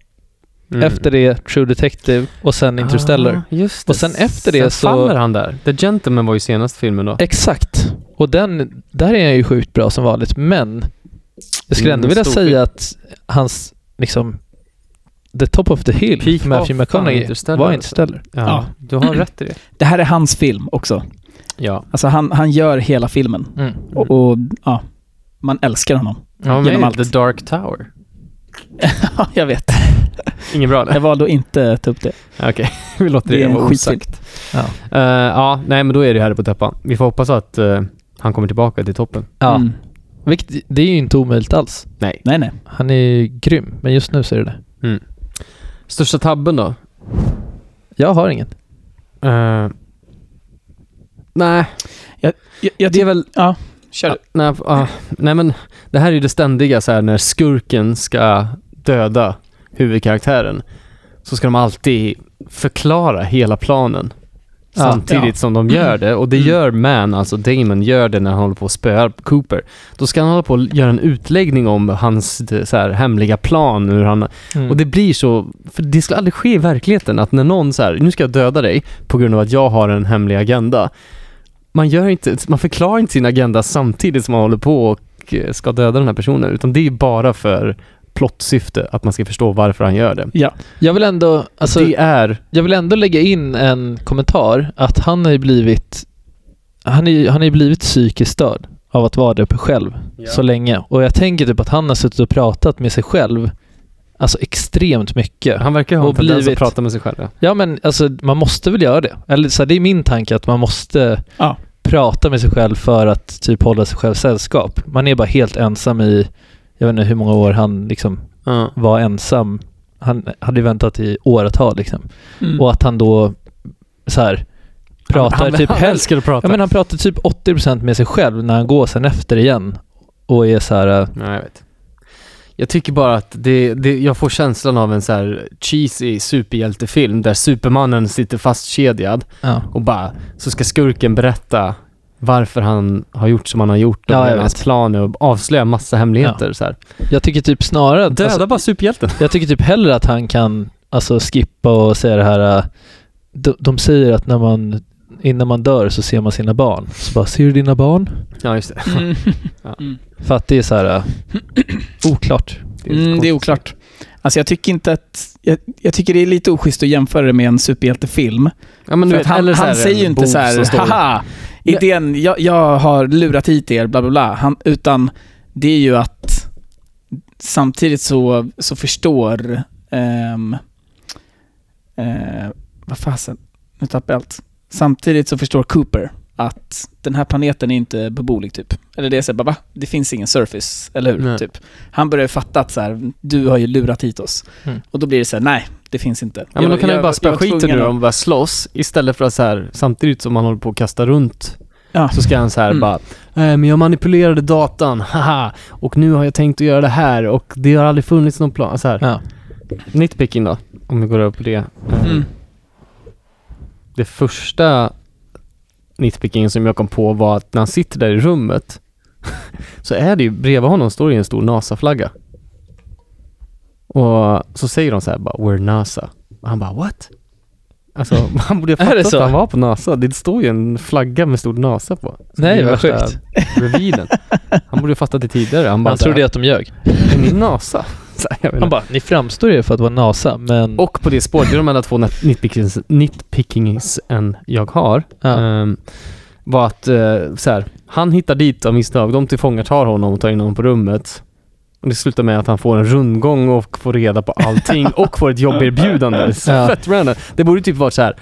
Speaker 7: Efter det True Detective och sen Interstellar.
Speaker 1: Mm. Ah, just
Speaker 7: Och sen efter det så- Eh,
Speaker 1: faller han där. The Gentleman var ju senaste filmen då.
Speaker 7: Exakt. Och den, där är han ju sjukt bra som vanligt, men jag skulle
Speaker 1: Mm,
Speaker 7: ändå vilja
Speaker 1: stor
Speaker 7: säga
Speaker 1: film.
Speaker 7: att hans, liksom, the top of the hill,
Speaker 1: Peak
Speaker 7: Matthew
Speaker 1: of- fan,
Speaker 7: McConaughey,
Speaker 1: Interstellar
Speaker 7: var
Speaker 1: alltså.
Speaker 7: Interstellar.
Speaker 1: Ja,
Speaker 8: Ja.
Speaker 1: du har rätt i det.
Speaker 8: Det här är hans film också.
Speaker 1: Ja.
Speaker 8: Alltså han, han gör hela filmen.
Speaker 7: Mm.
Speaker 8: Och, och ja, man älskar honom.
Speaker 1: ja
Speaker 8: Genom
Speaker 1: men,
Speaker 8: allt.
Speaker 1: The Dark Tower.
Speaker 8: Ja, jag vet.
Speaker 1: Inget bra eller?
Speaker 8: Jag valde att inte ta upp det.
Speaker 1: Okej, vi låter det,
Speaker 8: Det är en
Speaker 1: vara
Speaker 8: skitfilm.
Speaker 1: osagt.
Speaker 7: Ja.
Speaker 1: Eh, ja, nej men då är det här på täppan. Vi får hoppas att eh, han kommer tillbaka till toppen.
Speaker 7: Ja.
Speaker 8: Mm.
Speaker 7: Vilket, det är ju inte omöjligt alls.
Speaker 8: Nej, nej.
Speaker 7: Han är ju grym, men just nu så är det det.
Speaker 1: Största tabben då?
Speaker 7: Jag har ingen.
Speaker 1: Eh, nej,
Speaker 8: Jag, jag
Speaker 1: det
Speaker 8: ty-
Speaker 1: är väl...
Speaker 8: Ja, kör du.
Speaker 1: nej, ah, nej men det här är ju det ständiga så här när skurken ska döda huvudkaraktären så ska de alltid förklara hela planen.
Speaker 7: Ja.
Speaker 1: Samtidigt
Speaker 8: Ja.
Speaker 1: som de gör det. Och det
Speaker 8: Mm.
Speaker 1: gör Man, alltså Damon, gör det när han håller på att spöa Cooper. Då ska han hålla på och göra en utläggning om hans det, så här, hemliga plan. Hur han,
Speaker 7: Mm.
Speaker 1: Och det blir så, för det skulle aldrig ske i verkligheten att när någon så här, nu ska jag döda dig på grund av att jag har en hemlig agenda. Man, gör inte, man förklarar inte sin agenda samtidigt som man håller på och eh, ska döda den här personen. Utan det är bara för plottsyfte, att man ska förstå varför han gör det.
Speaker 7: Jag vill ändå, alltså,
Speaker 1: det är
Speaker 7: jag vill ändå lägga in en kommentar att han har ju blivit han är, ju- han är ju blivit psykiskt störd av att vara där uppe själv så länge. Och jag tänker typ att han har suttit och pratat med sig själv alltså extremt mycket.
Speaker 1: Han verkar ha en
Speaker 7: Och
Speaker 1: tendens att
Speaker 7: blivit-
Speaker 1: prata med sig själv. ja.
Speaker 7: Ja men alltså man måste väl göra det. Eller så här, det är min tanke att man måste
Speaker 8: Ja.
Speaker 7: prata med sig själv för att typ hålla sig själv sällskap. Man är bara helt ensam i, jag vet inte hur många år han liksom var ensam. Han hade ju väntat i åratal liksom.
Speaker 8: Mm.
Speaker 7: Och att han då så här pratar
Speaker 1: han,
Speaker 7: typ
Speaker 1: han
Speaker 7: helst.
Speaker 1: älskar att prata.
Speaker 7: Ja, men han pratar typ 80% med sig själv när han går sen efter igen. Och är så här, äh,
Speaker 1: Nej, jag vet. Jag tycker bara att det, det, jag får känslan av en så här cheesy superhjältefilm där supermannen sitter fastkedjad
Speaker 7: ja.
Speaker 1: och bara, så ska skurken berätta varför han har gjort som han har gjort och
Speaker 7: Ja,
Speaker 1: vad
Speaker 7: jag
Speaker 1: hans
Speaker 7: vet.
Speaker 1: plan är och avslöja massa hemligheter så här.
Speaker 7: Jag tycker typ snarare... att-
Speaker 1: Döda bara superhjälten.
Speaker 7: Jag tycker typ hellre att han kan alltså, skippa och säga det här... äh, De, de säger att när man, innan man dör så ser man sina barn. Så bara, ser du dina barn?
Speaker 1: Ja, just det.
Speaker 8: Mm.
Speaker 7: För att det är så här... äh, oklart.
Speaker 1: är lite
Speaker 8: Mm, det är
Speaker 1: konstigt.
Speaker 8: oklart. Alltså jag tycker inte att... Jag, jag tycker det är lite oschysst att jämföra det med en superhjältefilm.
Speaker 1: Ja, men du
Speaker 8: För
Speaker 1: vet,
Speaker 8: att han,
Speaker 1: eller så här
Speaker 8: han
Speaker 1: en
Speaker 8: säger ju inte
Speaker 1: bok
Speaker 8: så
Speaker 1: som står-
Speaker 8: här, haha, idén, jag, jag har lurat hit er, bla bla bla. Han, utan det är ju att samtidigt så, så förstår, ehm, eh, vad fasen, nu tappade jag allt. Samtidigt så förstår Cooper att den här planeten är inte beboelig typ. Eller det är såhär, va? Det finns ingen surface, eller hur?
Speaker 1: Nej.
Speaker 8: Typ. Han börjar ju fatta att så här, du har ju lurat hit oss.
Speaker 7: Mm.
Speaker 8: Och då blir det så här, nej, det finns inte.
Speaker 1: Ja, men då kan han ju bara spöa
Speaker 8: var
Speaker 1: skiten
Speaker 8: tvungen
Speaker 1: ur
Speaker 8: att-
Speaker 1: dem och börja slåss istället för att så här, samtidigt som han håller på att kasta runt
Speaker 8: Ja.
Speaker 1: Så ska han så här
Speaker 8: Mm.
Speaker 1: bara, "Eh, men jag manipulerade datan, haha, och nu har jag tänkt att göra det här och det har aldrig funnits någon plan. Så här.
Speaker 7: Ja.
Speaker 1: Nitpicking då, om vi går över på det. Eh,
Speaker 8: Mm.
Speaker 1: Det första nitpickingen som jag kom på var att när han sitter där i rummet så är det ju, bredvid honom står det ju en stor NASA-flagga. Och så säger de så här bara, “We're NASA”. Och han bara, “What?” Alltså, han borde ju ha
Speaker 7: Är det
Speaker 1: fattat
Speaker 7: så?
Speaker 1: att han var på NASA. Det står ju en flagga med stor NASA på. Så det
Speaker 7: Nej,
Speaker 1: är
Speaker 7: vad
Speaker 1: värsta-
Speaker 7: sjukt.
Speaker 1: reviden. Han borde ju fattat det tidigare. Han bara
Speaker 7: Han trodde att de ljög.
Speaker 1: att NASA. Så här, jag menar.
Speaker 7: Han bara, ni framstår ju för att vara NASA, men...
Speaker 1: och på det spåret, det är de enda två nit- nitpickings, nitpickingsen jag har.
Speaker 7: Ja.
Speaker 1: Ehm, var att eh, så här, han hittar dit av misstag, de tillfångatar honom och tar in honom på rummet. Och det slutar med att han får en rundgång och får reda på allting och får ett jobberbjudande. Så
Speaker 7: Ja.
Speaker 1: fett random. Det borde typ varit så här.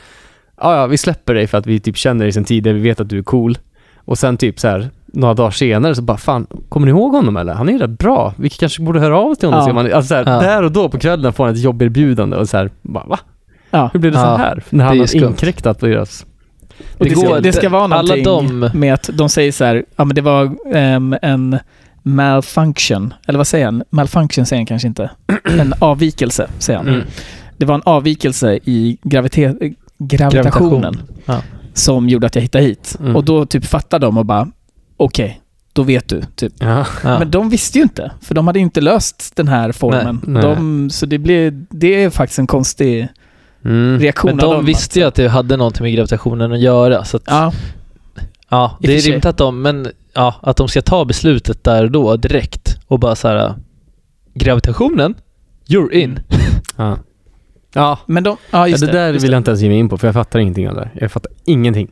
Speaker 1: ja ja, vi släpper dig för att vi typ känner dig sen tidigare, vi vet att du är cool. Och sen typ så här några dagar senare så bara fan, kommer ni ihåg honom eller? Han är ju rätt bra. Vi kanske borde höra av oss till honom.
Speaker 8: Ja.
Speaker 1: ser Man, alltså så här,
Speaker 7: Ja.
Speaker 1: Där och då på kvällen får han ett jobberbjudande och så här, bara, va?
Speaker 8: Ja.
Speaker 1: Hur blev det så
Speaker 7: Ja,
Speaker 1: här? När han
Speaker 7: ju
Speaker 1: har
Speaker 7: skumt.
Speaker 1: inkräktat på deras...
Speaker 8: Och det,
Speaker 7: Det
Speaker 8: ska,
Speaker 7: går
Speaker 8: det
Speaker 7: inte.
Speaker 8: ska vara
Speaker 7: Alla
Speaker 8: någonting
Speaker 7: de-
Speaker 8: med att de säger så här, ja men det var ehm, en malfunction, eller vad säger han? Malfunction säger han kanske inte. En avvikelse, säger han.
Speaker 1: Mm.
Speaker 8: Det var en avvikelse i gravite- eh, gravitationen
Speaker 7: Gravitation. Ja.
Speaker 8: som gjorde att jag hittade hit.
Speaker 1: Mm.
Speaker 8: Och då typ fattar de och bara, okej, då vet du. Typ.
Speaker 1: Ja.
Speaker 7: Ja.
Speaker 8: Men de visste ju inte, för de hade ju inte löst den här formen.
Speaker 1: Nej, nej.
Speaker 8: De, så det, blir, det är faktiskt en konstig
Speaker 1: Mm.
Speaker 8: reaktion
Speaker 7: Men
Speaker 8: av
Speaker 7: de
Speaker 8: dem,
Speaker 7: visste ju
Speaker 8: alltså.
Speaker 7: att det hade någonting med gravitationen att göra, så att
Speaker 8: Ja,
Speaker 7: Ja,
Speaker 8: I
Speaker 7: det
Speaker 8: och
Speaker 7: är
Speaker 8: för sig.
Speaker 7: rimligt att de, men, ja, att de ska ta beslutet där och då direkt och bara så här gravitationen, you're
Speaker 8: Mm.
Speaker 7: in.
Speaker 1: Ja. Ja,
Speaker 8: Men de, ja,
Speaker 1: Ja,
Speaker 8: just
Speaker 1: det där
Speaker 8: just
Speaker 1: vill jag inte ens ge mig in på för jag fattar ingenting av det där. Jag fattar ingenting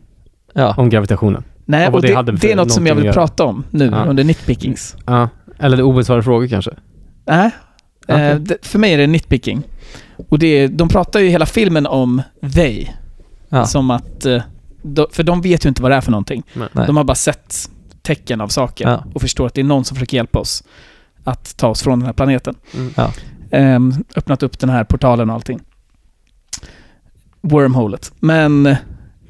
Speaker 7: Ja.
Speaker 1: om gravitationen.
Speaker 8: Nej,
Speaker 1: Och vad
Speaker 8: och
Speaker 1: det
Speaker 8: det,
Speaker 1: hade för
Speaker 8: det är något som jag
Speaker 1: någonting
Speaker 8: vill
Speaker 1: att göra.
Speaker 8: prata om nu
Speaker 1: Ja.
Speaker 8: under nitpickings.
Speaker 1: Ja. Eller det är obesvarade frågor kanske.
Speaker 8: Nej,
Speaker 1: Okej.
Speaker 8: eh, Äh? det, för mig är det nitpicking. Och det, är- de pratar ju hela filmen om they.
Speaker 7: Ja.
Speaker 8: Som att, eh, de, för de vet ju inte vad det är för någonting.
Speaker 7: Nej.
Speaker 8: De har bara sett tecken av saker
Speaker 7: Ja.
Speaker 8: och förstår att det är någon som försöker hjälpa oss att ta oss från den här planeten.
Speaker 1: Mm.
Speaker 7: Ja.
Speaker 8: Ehm, öppnat upp den här portalen och allting. Wormholet. Men eh,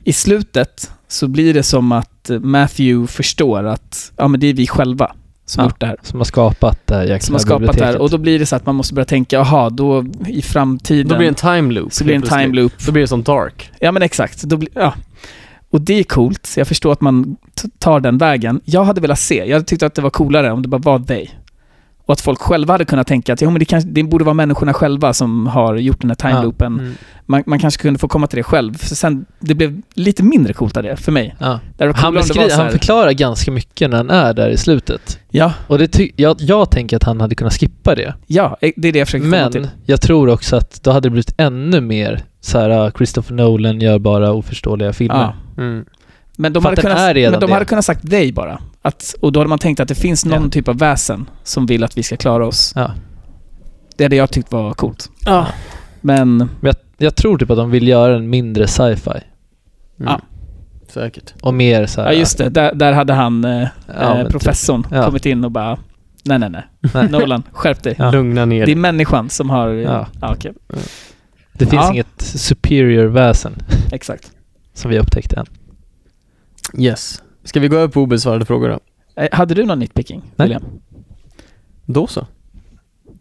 Speaker 8: i slutet så blir det som att eh, Matthew förstår att ja, men det är vi själva som
Speaker 7: Ja.
Speaker 8: har gjort det här.
Speaker 7: Som har skapat det här jäkla
Speaker 8: Som har skapat det här. Och då blir det så att man måste börja tänka, jaha, då i framtiden
Speaker 1: Då blir det en time loop.
Speaker 8: så blir det en
Speaker 1: helt plötsligt.
Speaker 8: time loop.
Speaker 1: Då blir det som dark.
Speaker 8: Ja men exakt. Då blir, ja. Och det är coolt, så jag förstår att man t- tar den vägen. Jag hade velat se, jag tyckte att det var coolare om det bara var they. Och att folk själva hade kunnat tänka att ja, men det, kanske, det borde vara människorna själva som har gjort den här timeloopen.
Speaker 7: Ja. Mm.
Speaker 8: Man, man kanske kunde få komma till det själv. Så sen, det blev lite mindre coolt av det, för mig.
Speaker 7: Ja.
Speaker 8: Det hade
Speaker 7: Han,
Speaker 8: varit coolare om det var
Speaker 7: beskri-
Speaker 8: så
Speaker 7: han
Speaker 8: här,
Speaker 7: förklarar ganska mycket när han är där i slutet.
Speaker 8: ja,
Speaker 7: Och det ty- jag, jag tänker att han hade kunnat skippa det.
Speaker 8: ja, eh, det är det jag försöker komma till.
Speaker 7: Men jag tror också att då hade det blivit ännu mer så här uh, Christopher Nolan gör bara oförståeliga filmer.
Speaker 8: Ja.
Speaker 1: Mm.
Speaker 8: Men de,
Speaker 7: För
Speaker 8: hade
Speaker 7: att den
Speaker 8: kunnat,
Speaker 7: är redan
Speaker 8: men de
Speaker 7: det.
Speaker 8: hade kunnat sagt they bara. Att, och då hade man tänkt att det finns någon
Speaker 7: Ja.
Speaker 8: typ av väsen som vill att vi ska klara oss.
Speaker 7: Ja.
Speaker 8: Det hade jag tyckt var coolt.
Speaker 7: Ja.
Speaker 8: Men
Speaker 7: Men jag, jag tror typ att de vill göra en mindre sci-fi.
Speaker 8: Ja.
Speaker 1: Säkert.
Speaker 7: Och mer så här,
Speaker 8: Ja just det, där, där hade han, eh,
Speaker 7: Ja, men
Speaker 8: eh,
Speaker 7: typ.
Speaker 8: professorn,
Speaker 7: Ja.
Speaker 8: kommit in och bara Nej nej nej,
Speaker 7: Nej.
Speaker 8: Nolan, skärp dig.
Speaker 7: Ja.
Speaker 1: Lugna ner
Speaker 8: Det är
Speaker 1: dig.
Speaker 8: människan som har...
Speaker 7: Ja.
Speaker 8: Ja, ja okej.
Speaker 7: Det finns
Speaker 8: Ja.
Speaker 7: inget superior väsen
Speaker 8: Exakt.
Speaker 7: som vi upptäckte än.
Speaker 1: Yes. Ska vi gå över på obesvarade frågor då?
Speaker 8: Eh, Hade du någon nitpicking?
Speaker 7: Nej.
Speaker 8: William?
Speaker 1: Då så.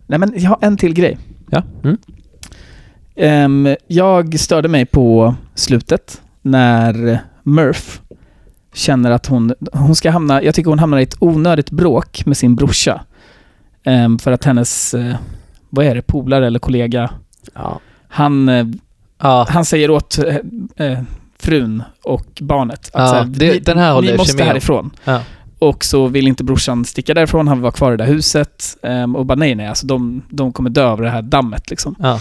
Speaker 8: Nej men jag har en till grej.
Speaker 7: Ja.
Speaker 1: Mm.
Speaker 8: Ehm, jag störde mig på slutet när Murph känner att hon, hon ska hamna, jag tycker hon hamnar i ett onödigt bråk med sin brorsa. Ehm, för att hennes, eh, vad är det, polare eller kollega,
Speaker 1: Ja.
Speaker 8: han eh,
Speaker 7: Ja,
Speaker 8: han säger åt eh, eh, frun och barnet att
Speaker 7: Ja,
Speaker 8: så här,
Speaker 7: det-
Speaker 8: ni,
Speaker 7: den här håller
Speaker 8: ni
Speaker 7: jag i
Speaker 8: måste
Speaker 7: kemin om."
Speaker 8: härifrån.
Speaker 7: Ja.
Speaker 8: Och så vill inte brorsan sticka därifrån, han vill vara kvar i det där huset. ehm, och bara nej, nej, alltså de, de kommer dö av det här dammet liksom.
Speaker 7: Ja.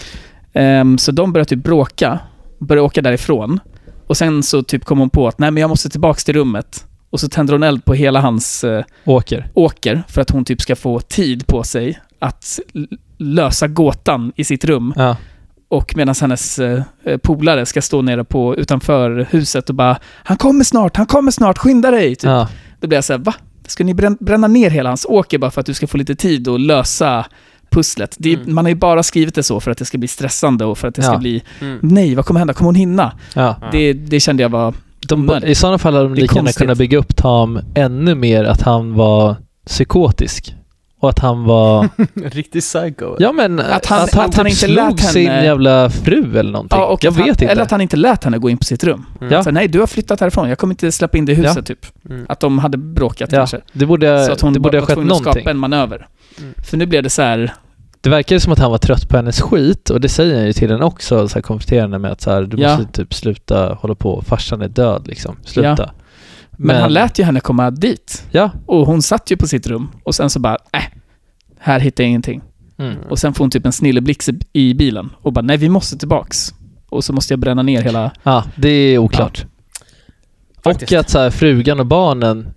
Speaker 8: Ehm, så de börjar typ bråka, börjar åka därifrån. Och sen så typ kom hon på att nej, men jag måste tillbaks till rummet. Och så tänder hon eld på hela hans eh,
Speaker 7: åker.
Speaker 8: åker för att hon typ ska få tid på sig att l- lösa gåtan i sitt rum.
Speaker 7: Ja.
Speaker 8: Och medan hennes eh, eh, polare ska stå nere på, utanför huset och bara “Han kommer snart, han kommer snart, skynda dig!” typ.
Speaker 7: Ja.
Speaker 8: Då blir jag så här, va? Ska ni brän- bränna ner hela hans åker bara för att du ska få lite tid att lösa pusslet? Det är,
Speaker 1: Mm.
Speaker 8: Man har ju bara skrivit det så för att det ska bli stressande och för att det ska
Speaker 7: Ja.
Speaker 8: bli
Speaker 1: Mm.
Speaker 8: “Nej, vad kommer hända? Kommer hon hinna?”
Speaker 7: Ja.
Speaker 8: det, det kände jag var...
Speaker 7: De,
Speaker 8: Onödigt.
Speaker 7: I sådana fall hade de
Speaker 8: Det är
Speaker 7: lika gärna
Speaker 8: konstigt.
Speaker 7: kunnat bygga upp Tam ännu mer att han var psykotisk. Och att han var...
Speaker 1: Riktig psycho.
Speaker 7: Ja men
Speaker 8: Att han-
Speaker 7: att han,
Speaker 8: att han
Speaker 7: typ
Speaker 8: inte
Speaker 7: slog
Speaker 8: lät henne-
Speaker 7: sin jävla fru eller någonting.
Speaker 8: Ja, och
Speaker 7: jag
Speaker 8: att han,
Speaker 7: vet inte.
Speaker 8: Eller att han inte lät henne gå in på sitt rum.
Speaker 7: Ja.
Speaker 8: Så, här, Nej, du har flyttat härifrån, jag kommer inte släppa in dig i huset,
Speaker 7: Ja.
Speaker 8: typ.
Speaker 1: Mm.
Speaker 8: Att de hade bråkat
Speaker 7: ja,
Speaker 8: kanske.
Speaker 7: det borde,
Speaker 8: Så att hon
Speaker 7: det borde ha
Speaker 8: bara var
Speaker 7: skett
Speaker 8: tvungen att skapa
Speaker 7: någonting.
Speaker 8: en manöver.
Speaker 1: Mm.
Speaker 8: För nu blev det så här,
Speaker 7: Det verkar ju som att han var trött på hennes skit och det säger han ju till henne också, så här konfronterande med att så här, du
Speaker 8: Ja.
Speaker 7: måste typ sluta hålla på, farsan är död liksom, sluta.
Speaker 8: Men, han lät ju henne komma dit.
Speaker 7: Ja,
Speaker 8: Och hon satt ju på sitt rum. Och sen så bara, äh, här hittar jag ingenting.
Speaker 7: mm.
Speaker 8: Och sen får hon typ en snilleblixt i- i bilen. Och bara, nej vi måste tillbaks. Och så måste jag bränna ner hela...
Speaker 7: ja det är oklart.
Speaker 1: Faktiskt.
Speaker 7: och att så här, frugan och barnen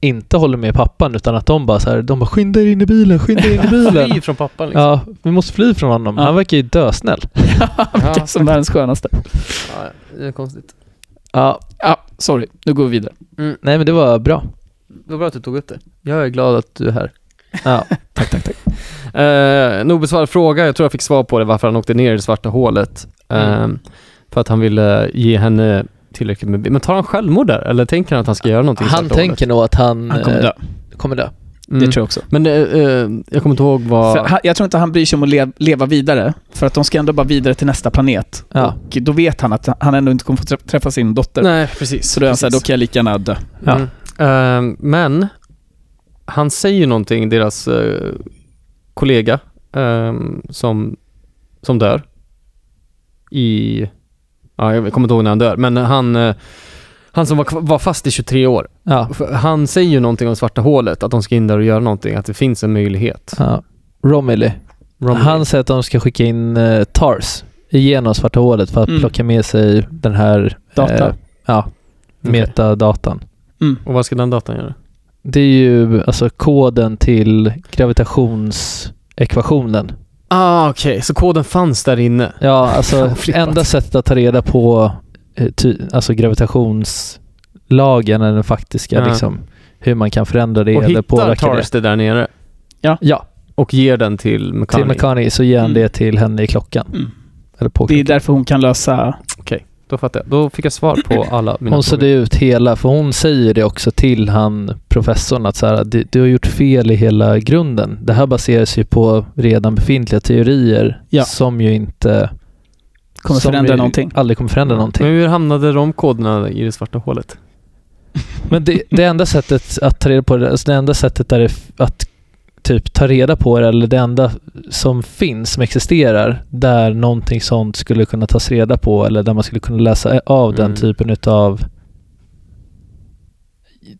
Speaker 7: inte håller med pappan utan att de bara så här, de bara skynda er in i bilen, skynda er in i bilen.
Speaker 1: Fly från pappan liksom.
Speaker 7: Ja, vi måste fly från honom.
Speaker 8: Ja.
Speaker 7: Han verkar ju dösnäll.
Speaker 8: Vilka som världens skönaste.
Speaker 1: Ja, det är konstigt.
Speaker 7: Ja,
Speaker 8: Ja, sorry. Nu går vi vidare.
Speaker 7: nej men det var bra.
Speaker 1: Vad bra att du tog upp det. Jag är glad att du är här.
Speaker 7: Ja,
Speaker 1: Eh, en obesvarad fråga, jag tror jag fick svar på det, varför han åkte ner i det svarta hålet. Eh, för att han ville ge henne tillräckligt med... Men tar han självmord där? Eller tänker han att han ska göra någonting i
Speaker 7: han
Speaker 1: svarta hålet?
Speaker 7: tänker nog att han,
Speaker 8: Han kommer
Speaker 7: eh,
Speaker 8: dö.
Speaker 7: kommer dö.
Speaker 1: Mm.
Speaker 8: Det tror jag också.
Speaker 1: Men eh, eh, jag kommer inte ihåg vad...
Speaker 8: För han, jag tror inte han bryr sig om att le- leva vidare. För att de ska ändå bara vidare till nästa planet.
Speaker 7: Ja.
Speaker 8: Och då vet han att han ändå inte kommer få trä- träffa sin dotter.
Speaker 1: Nej, precis.
Speaker 8: Så då är han såhär, då
Speaker 1: precis.
Speaker 8: kan jag lika gärna dö.
Speaker 7: Ja.
Speaker 1: Mm. Eh, men han säger ju någonting, deras eh, kollega eh, som, som dör i... Ja, jag kommer inte ihåg när han dör, men han, eh, han som var, kv- var fast i 23 år.
Speaker 7: Ja.
Speaker 1: För Han säger ju någonting om svarta hålet, att de ska in där och göra någonting, att det finns en möjlighet.
Speaker 7: ja. Romilly.
Speaker 1: Romilly.
Speaker 7: Han säger att de ska skicka in eh, TARS igenom svarta hålet för att
Speaker 8: Mm.
Speaker 7: plocka med sig den här
Speaker 8: Data.
Speaker 7: eh, ja,
Speaker 1: Okej.
Speaker 7: metadatan.
Speaker 1: Och vad ska den datan göra?
Speaker 7: Det är ju alltså koden till gravitationsekvationen.
Speaker 1: Ah, okej. Så koden fanns där inne?
Speaker 7: Ja, alltså
Speaker 1: Fan, flippat.
Speaker 7: enda sättet att ta reda på eh, ty, alltså gravitationslagen eller den faktiska
Speaker 1: Ja.
Speaker 7: liksom, hur man kan förändra det
Speaker 1: och
Speaker 7: eller
Speaker 1: hittar
Speaker 7: påverka det.
Speaker 1: Tars det där nere
Speaker 7: Ja,
Speaker 1: och ger den till McCartney?
Speaker 7: till McCartney så ger han
Speaker 8: Mm.
Speaker 7: det till henne i klockan.
Speaker 8: Mm.
Speaker 7: Eller på
Speaker 8: Det är
Speaker 7: klockan.
Speaker 8: därför hon kan lösa...
Speaker 1: Då fattar jag. Då fick jag svar på alla mina
Speaker 7: Hon såg
Speaker 1: frågor.
Speaker 7: ut hela, för hon säger det också till han professorn att så här, du, du har gjort fel i hela grunden. Det här baseras ju på redan befintliga teorier
Speaker 8: Ja.
Speaker 7: som ju inte
Speaker 8: Kommer
Speaker 7: som
Speaker 8: förändra
Speaker 7: ju
Speaker 8: någonting. Mm.
Speaker 7: aldrig kommer förändra någonting.
Speaker 1: Men hur hamnade de koderna i det svarta hålet?
Speaker 7: Men det, det enda sättet att ta reda på det, alltså det enda sättet där det, f- att typ ta reda på det eller det enda som finns, som existerar, där någonting sånt skulle kunna tas reda på eller där man skulle kunna läsa eh, av den
Speaker 1: Mm.
Speaker 7: typen utav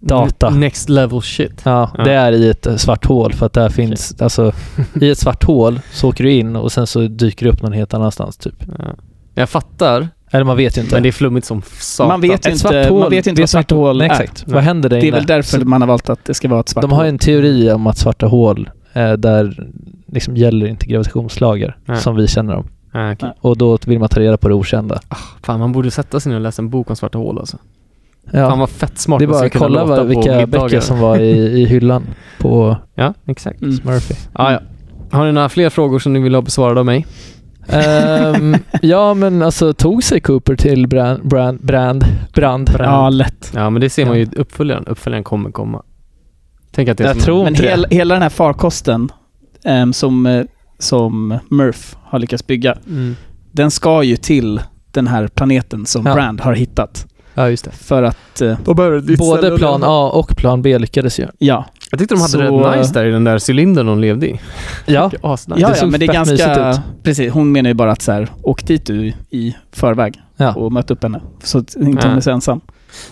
Speaker 7: data.
Speaker 1: N- Next level shit.
Speaker 7: Ja,
Speaker 1: Ja.
Speaker 7: det är i ett eh, svart hål för att där finns, alltså i ett svart hål så åker du in och sen så dyker det upp någon helt annanstans typ.
Speaker 1: Ja. Jag fattar,
Speaker 7: Eller man vet ju inte.
Speaker 1: men det är flummigt som satan.
Speaker 8: Man vet ju
Speaker 7: Ett
Speaker 8: inte, man vet ju inte
Speaker 7: det är
Speaker 8: vad svarta hål
Speaker 7: Nej,
Speaker 8: är.
Speaker 7: exakt. Vad händer där
Speaker 8: Det är
Speaker 7: inne?
Speaker 8: väl därför man har valt att det ska vara ett svart
Speaker 7: De har
Speaker 8: hål.
Speaker 7: ju en teori om att svarta hål eh, där liksom gäller inte gravitationslagar
Speaker 1: Nej.
Speaker 7: som vi känner dem.
Speaker 1: Ah, okej.
Speaker 7: Och då vill man ta reda på det okända.
Speaker 1: Fan, man borde sätta sig ner och läsa en bok om svarta hål alltså. Fan
Speaker 7: Ja.
Speaker 1: vad fett smart
Speaker 7: Det är
Speaker 1: man
Speaker 7: bara
Speaker 1: skulle
Speaker 7: att
Speaker 1: kunna
Speaker 7: kolla
Speaker 1: låta
Speaker 7: vad,
Speaker 1: på
Speaker 7: vilka
Speaker 1: middagar.
Speaker 7: böcker som var i, i hyllan på
Speaker 1: Ja, exakt.
Speaker 8: Mm.
Speaker 7: Smurfy.
Speaker 1: Ah, ja. Har ni några fler frågor som ni vill ha besvarade av mig?
Speaker 7: Ehm, ja men alltså tog sig Cooper till brand, brand, brand, brand.
Speaker 8: Ja, lätt.
Speaker 1: Ja, men det ser man ju i uppföljaren. Uppföljaren kommer komma. Tänk att det är
Speaker 7: Jag
Speaker 1: som-
Speaker 7: tror
Speaker 8: Men
Speaker 7: inte
Speaker 8: hel, hela den här farkosten ehm, som, eh, som Murph har lyckats bygga,
Speaker 1: Mm.
Speaker 8: den ska ju till den här planeten som
Speaker 7: Ja.
Speaker 8: Brand har hittat.
Speaker 7: Ja just det.
Speaker 8: För att, eh,
Speaker 7: det. Både plan A och plan B lyckades ju.
Speaker 8: ja.
Speaker 1: Jag tyckte de hade
Speaker 8: Så-
Speaker 1: rätt nice där i den där cylindern de levde i.
Speaker 7: Ja.
Speaker 1: Det är asnice.
Speaker 8: Ja,
Speaker 7: Det
Speaker 8: ja,
Speaker 7: såg
Speaker 8: men det är
Speaker 7: fett
Speaker 8: ganska...
Speaker 7: mysigt
Speaker 8: Precis, hon menar ju bara att så här, åk dit du i förväg
Speaker 7: Ja.
Speaker 8: och möt upp henne. Så att inte hon är så ensam.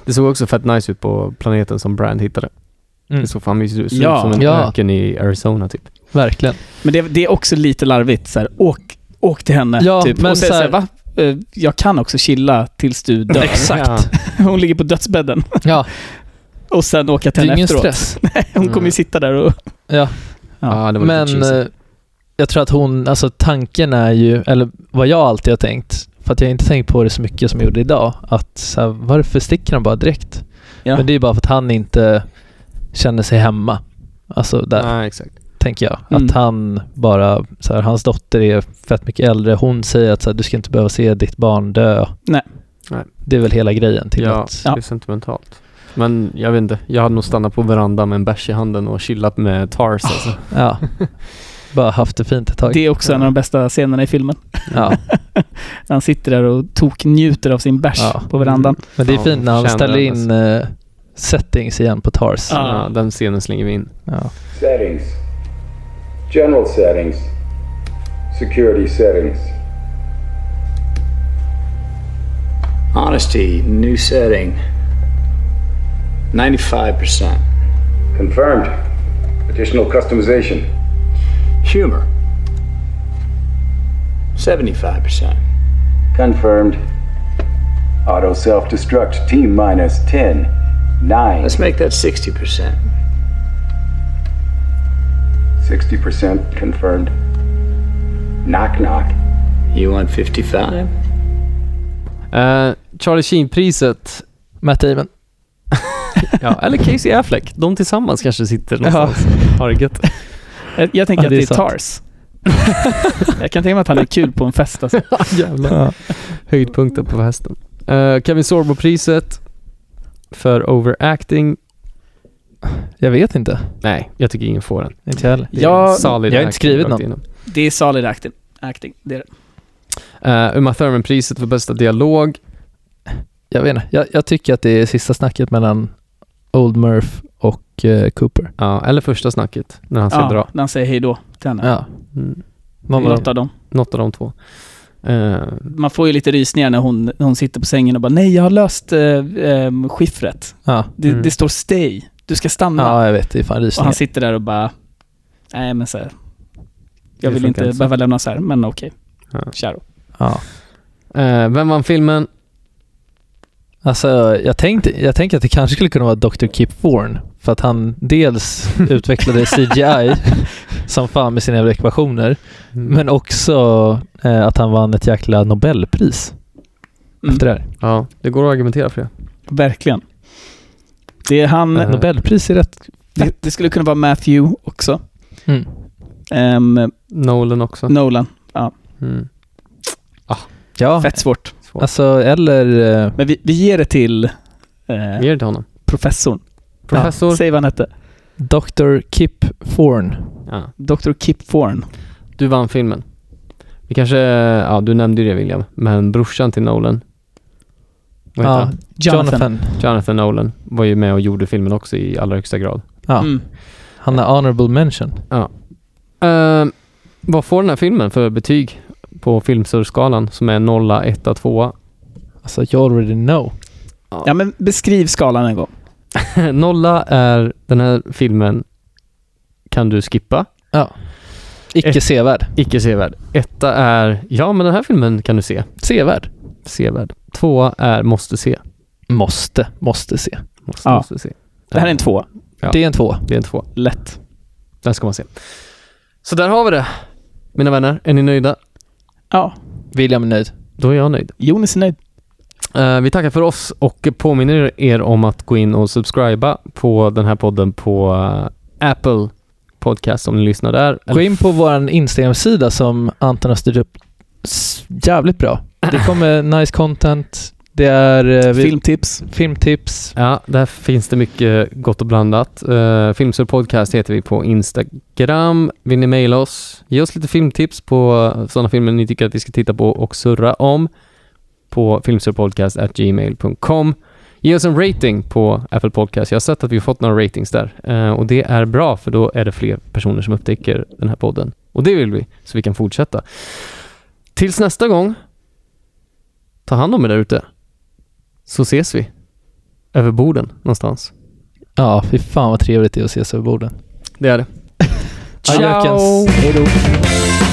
Speaker 1: Det såg också fett nice ut på planeten som Brand hittade.
Speaker 7: Mm.
Speaker 1: Det såg fan mysigt ut. Det såg
Speaker 8: Ja.
Speaker 1: ut som en
Speaker 7: Ja.
Speaker 1: öken i Arizona typ.
Speaker 7: Verkligen.
Speaker 8: Men det, det är också lite larvigt så här, åk, åk till henne.
Speaker 7: Ja,
Speaker 8: typ.
Speaker 7: men
Speaker 8: och säga
Speaker 7: så
Speaker 8: så
Speaker 7: här-
Speaker 8: här, va? Eh, Jag kan också chilla tills du dör.
Speaker 7: Exakt.
Speaker 8: Hon ligger på dödsbädden.
Speaker 7: Ja,
Speaker 8: Och sen åka
Speaker 7: det
Speaker 8: till
Speaker 7: är
Speaker 8: henne
Speaker 7: ingen
Speaker 8: efteråt.
Speaker 7: stress.
Speaker 8: Hon kommer ju sitta där och...
Speaker 7: Mm. Ja.
Speaker 1: Ja, det var
Speaker 7: Men
Speaker 1: lite cheesy.
Speaker 7: eh, jag tror att hon, alltså tanken är ju, eller vad jag alltid har tänkt, för att jag har inte tänkt på det så mycket som jag gjorde idag, att så här, varför sticker han bara direkt?
Speaker 8: Ja.
Speaker 7: Men det är ju bara för att han inte känner sig hemma. Alltså där,
Speaker 1: Nej, exakt.
Speaker 7: tänker jag.
Speaker 8: Mm.
Speaker 7: Att han bara, så här, hans dotter är fett mycket äldre, hon säger att så här, du ska inte behöva se ditt barn dö.
Speaker 8: Nej.
Speaker 1: Nej.
Speaker 7: Det är väl hela grejen till
Speaker 1: Ja,
Speaker 7: att...
Speaker 1: det är sentimentalt. Men jag vet inte, jag hade nog stannat på verandan med en bärs i handen och chillat med Tars alltså.
Speaker 7: Ja. Bara haft det fint ett tag.
Speaker 8: Det är också en av de bästa scenerna i filmen.
Speaker 7: Ja.
Speaker 8: När han sitter där och toknjuter av sin bärs
Speaker 7: Ja.
Speaker 8: på verandan.
Speaker 7: Men det är
Speaker 1: Ja,
Speaker 7: fint när han
Speaker 1: förtjänar
Speaker 7: ställer
Speaker 1: den,
Speaker 7: in eh, settings igen på TARS.
Speaker 8: Ja.
Speaker 1: Ja, den scenen slänger vi in.
Speaker 7: Ja.
Speaker 11: Settings. General settings. Security settings.
Speaker 9: Honesty, new setting. 95%.
Speaker 11: Confirmed. Additional customization.
Speaker 9: Humor. 75%.
Speaker 11: Confirmed. Auto self destruct T minus 10, 9,
Speaker 9: Let's make that 60%.
Speaker 11: 60% confirmed. Knock knock.
Speaker 9: You want 55?
Speaker 1: Eh, Charlie Sheen-priset,
Speaker 7: Matt Damon.
Speaker 1: ja, eller Casey Affleck. De tillsammans kanske sitter någonstans. Har det gött.
Speaker 8: Jag, jag tänker
Speaker 7: Ja,
Speaker 8: att
Speaker 7: det
Speaker 8: det
Speaker 7: är sant.
Speaker 8: är Tars. jag kan tänka mig att han är kul på en fest alltså.
Speaker 1: Jävlar. Höjdpunkten på hästen. Eh, Kevin Sorbo-priset för overacting.
Speaker 7: Jag vet inte.
Speaker 1: Nej, jag tycker ingen får den.
Speaker 7: Inte jag heller.
Speaker 1: Det är
Speaker 8: Ja,
Speaker 1: en solid
Speaker 7: jag har inte
Speaker 1: acting
Speaker 7: skrivit
Speaker 1: rakt
Speaker 7: någon.
Speaker 1: igenom.
Speaker 8: Det är solid acting. acting. Det är det.
Speaker 1: Eh, Uma Thurman-priset för bästa dialog.
Speaker 7: Jag vet inte. Jag, jag tycker att det är sista snacket mellan Old Murph och eh, Cooper.
Speaker 1: Ja, eller första snacket, när han ska dra.
Speaker 8: när han säger hej då till henne.
Speaker 7: Ja.
Speaker 1: Mm.
Speaker 8: Det är
Speaker 7: Man bara,
Speaker 8: Något av dem.
Speaker 1: Något av de två. Eh,
Speaker 8: Man får ju lite rysningar när hon, när hon sitter på sängen och bara nej, jag har löst eh, eh, skiffret.
Speaker 7: Ja.
Speaker 8: Det, det står stay. Du ska stanna.
Speaker 7: Mm. Ja, jag vet. Det är fan
Speaker 8: och
Speaker 7: rysningar.
Speaker 8: han sitter där och bara, nej men så här, jag
Speaker 10: Det
Speaker 8: vill
Speaker 10: funkar
Speaker 8: inte
Speaker 10: inte så."
Speaker 8: behöva lämna så här, men okej.
Speaker 10: Ja.
Speaker 8: Kör då.
Speaker 7: Ja.
Speaker 10: Eh, vem vann filmen?
Speaker 7: Alltså, jag tänkte, jag tänkte att det kanske skulle kunna vara Dr. Kip Thorne. För att han dels utvecklade CGI som fan med sina jävla ekvationer. Men också eh, att han vann ett jäkla Nobelpris
Speaker 8: Mm.
Speaker 7: efter det här.
Speaker 10: Ja, det går att argumentera för det.
Speaker 8: Verkligen. Det är han,
Speaker 10: Eh,
Speaker 7: Nobelpris är rätt...
Speaker 8: det, det skulle kunna vara Matthew också.
Speaker 7: Mm.
Speaker 8: Ehm,
Speaker 10: Nolan också.
Speaker 8: Nolan.
Speaker 10: Mm.
Speaker 7: Ja,
Speaker 8: Fett svårt.
Speaker 10: Svårt.
Speaker 7: alltså eller... eh,
Speaker 8: Men vi, vi ger det till eh,
Speaker 10: Ge det till honom.
Speaker 8: professorn.
Speaker 10: Professor.
Speaker 8: Säg vad han hette.
Speaker 7: Dr. Kip Thorne.
Speaker 10: Ja.
Speaker 8: Dr. Kip Thorne.
Speaker 10: Du vann filmen. Vi kanske, ja du nämnde ju det William, men brorsan till Nolan. Vad heter
Speaker 7: Ja,
Speaker 10: han?
Speaker 8: Jonathan.
Speaker 10: Jonathan Nolan var ju med och gjorde filmen också i allra högsta grad.
Speaker 7: Ja,
Speaker 8: Mm.
Speaker 7: han är honorable mention.
Speaker 10: Ehm, vad får den här filmen för betyg på filmsurskalan som är 0, 1, 2?
Speaker 7: Alltså, you already know.
Speaker 8: Ja, men beskriv skalan en gång.
Speaker 10: 0 är den här filmen kan du skippa,
Speaker 7: Ja. Icke
Speaker 10: Ett-
Speaker 7: sevärd.
Speaker 10: icke sevärd. Etta är, ja men den här filmen kan du se,
Speaker 7: Sevärd.
Speaker 10: sevärd. Tvåa är måste se,
Speaker 7: Måste, måste se.
Speaker 10: måste,
Speaker 8: Ja.
Speaker 10: måste se.
Speaker 8: Det här är en tvåa.
Speaker 10: Ja.
Speaker 7: Det är en två.
Speaker 10: Det är en tvåa.
Speaker 8: Lätt.
Speaker 10: Den ska man se. Så där har vi det. Mina vänner, är ni nöjda?
Speaker 8: Ja,
Speaker 7: William är nöjd.
Speaker 10: Då är jag nöjd.
Speaker 8: Jonas är nöjd.
Speaker 10: Eh, vi tackar för oss och påminner er om att gå in och subscriba på den här podden på eh, Apple Podcast om ni lyssnar där.
Speaker 7: Gå in på vår Instagram-sida som Anton har styrt upp s- jävligt bra. Det kommer nice content. Det är eh, vi-
Speaker 8: Filmtips.
Speaker 7: filmtips.
Speaker 10: Ja, där finns det mycket gott och blandat. Uh, Filmsur Podcast heter vi på Instagram. Vill ni mejla oss? Ge oss lite filmtips på sådana filmer ni tycker att vi ska titta på och surra om på filmsurpodcast.gmail.com. Ge oss en rating på Apple Podcast. Jag har sett att vi har fått några ratings där Eh, och det är bra för då är det fler personer som upptäcker den här podden. Och det vill vi, så vi kan fortsätta. Tills nästa gång, ta hand om er där ute, så ses vi över borden någonstans.
Speaker 7: Ja, fy fan vad trevligt det är att ses över borden.
Speaker 10: Det är det.
Speaker 7: Adjökens.
Speaker 8: Hej då.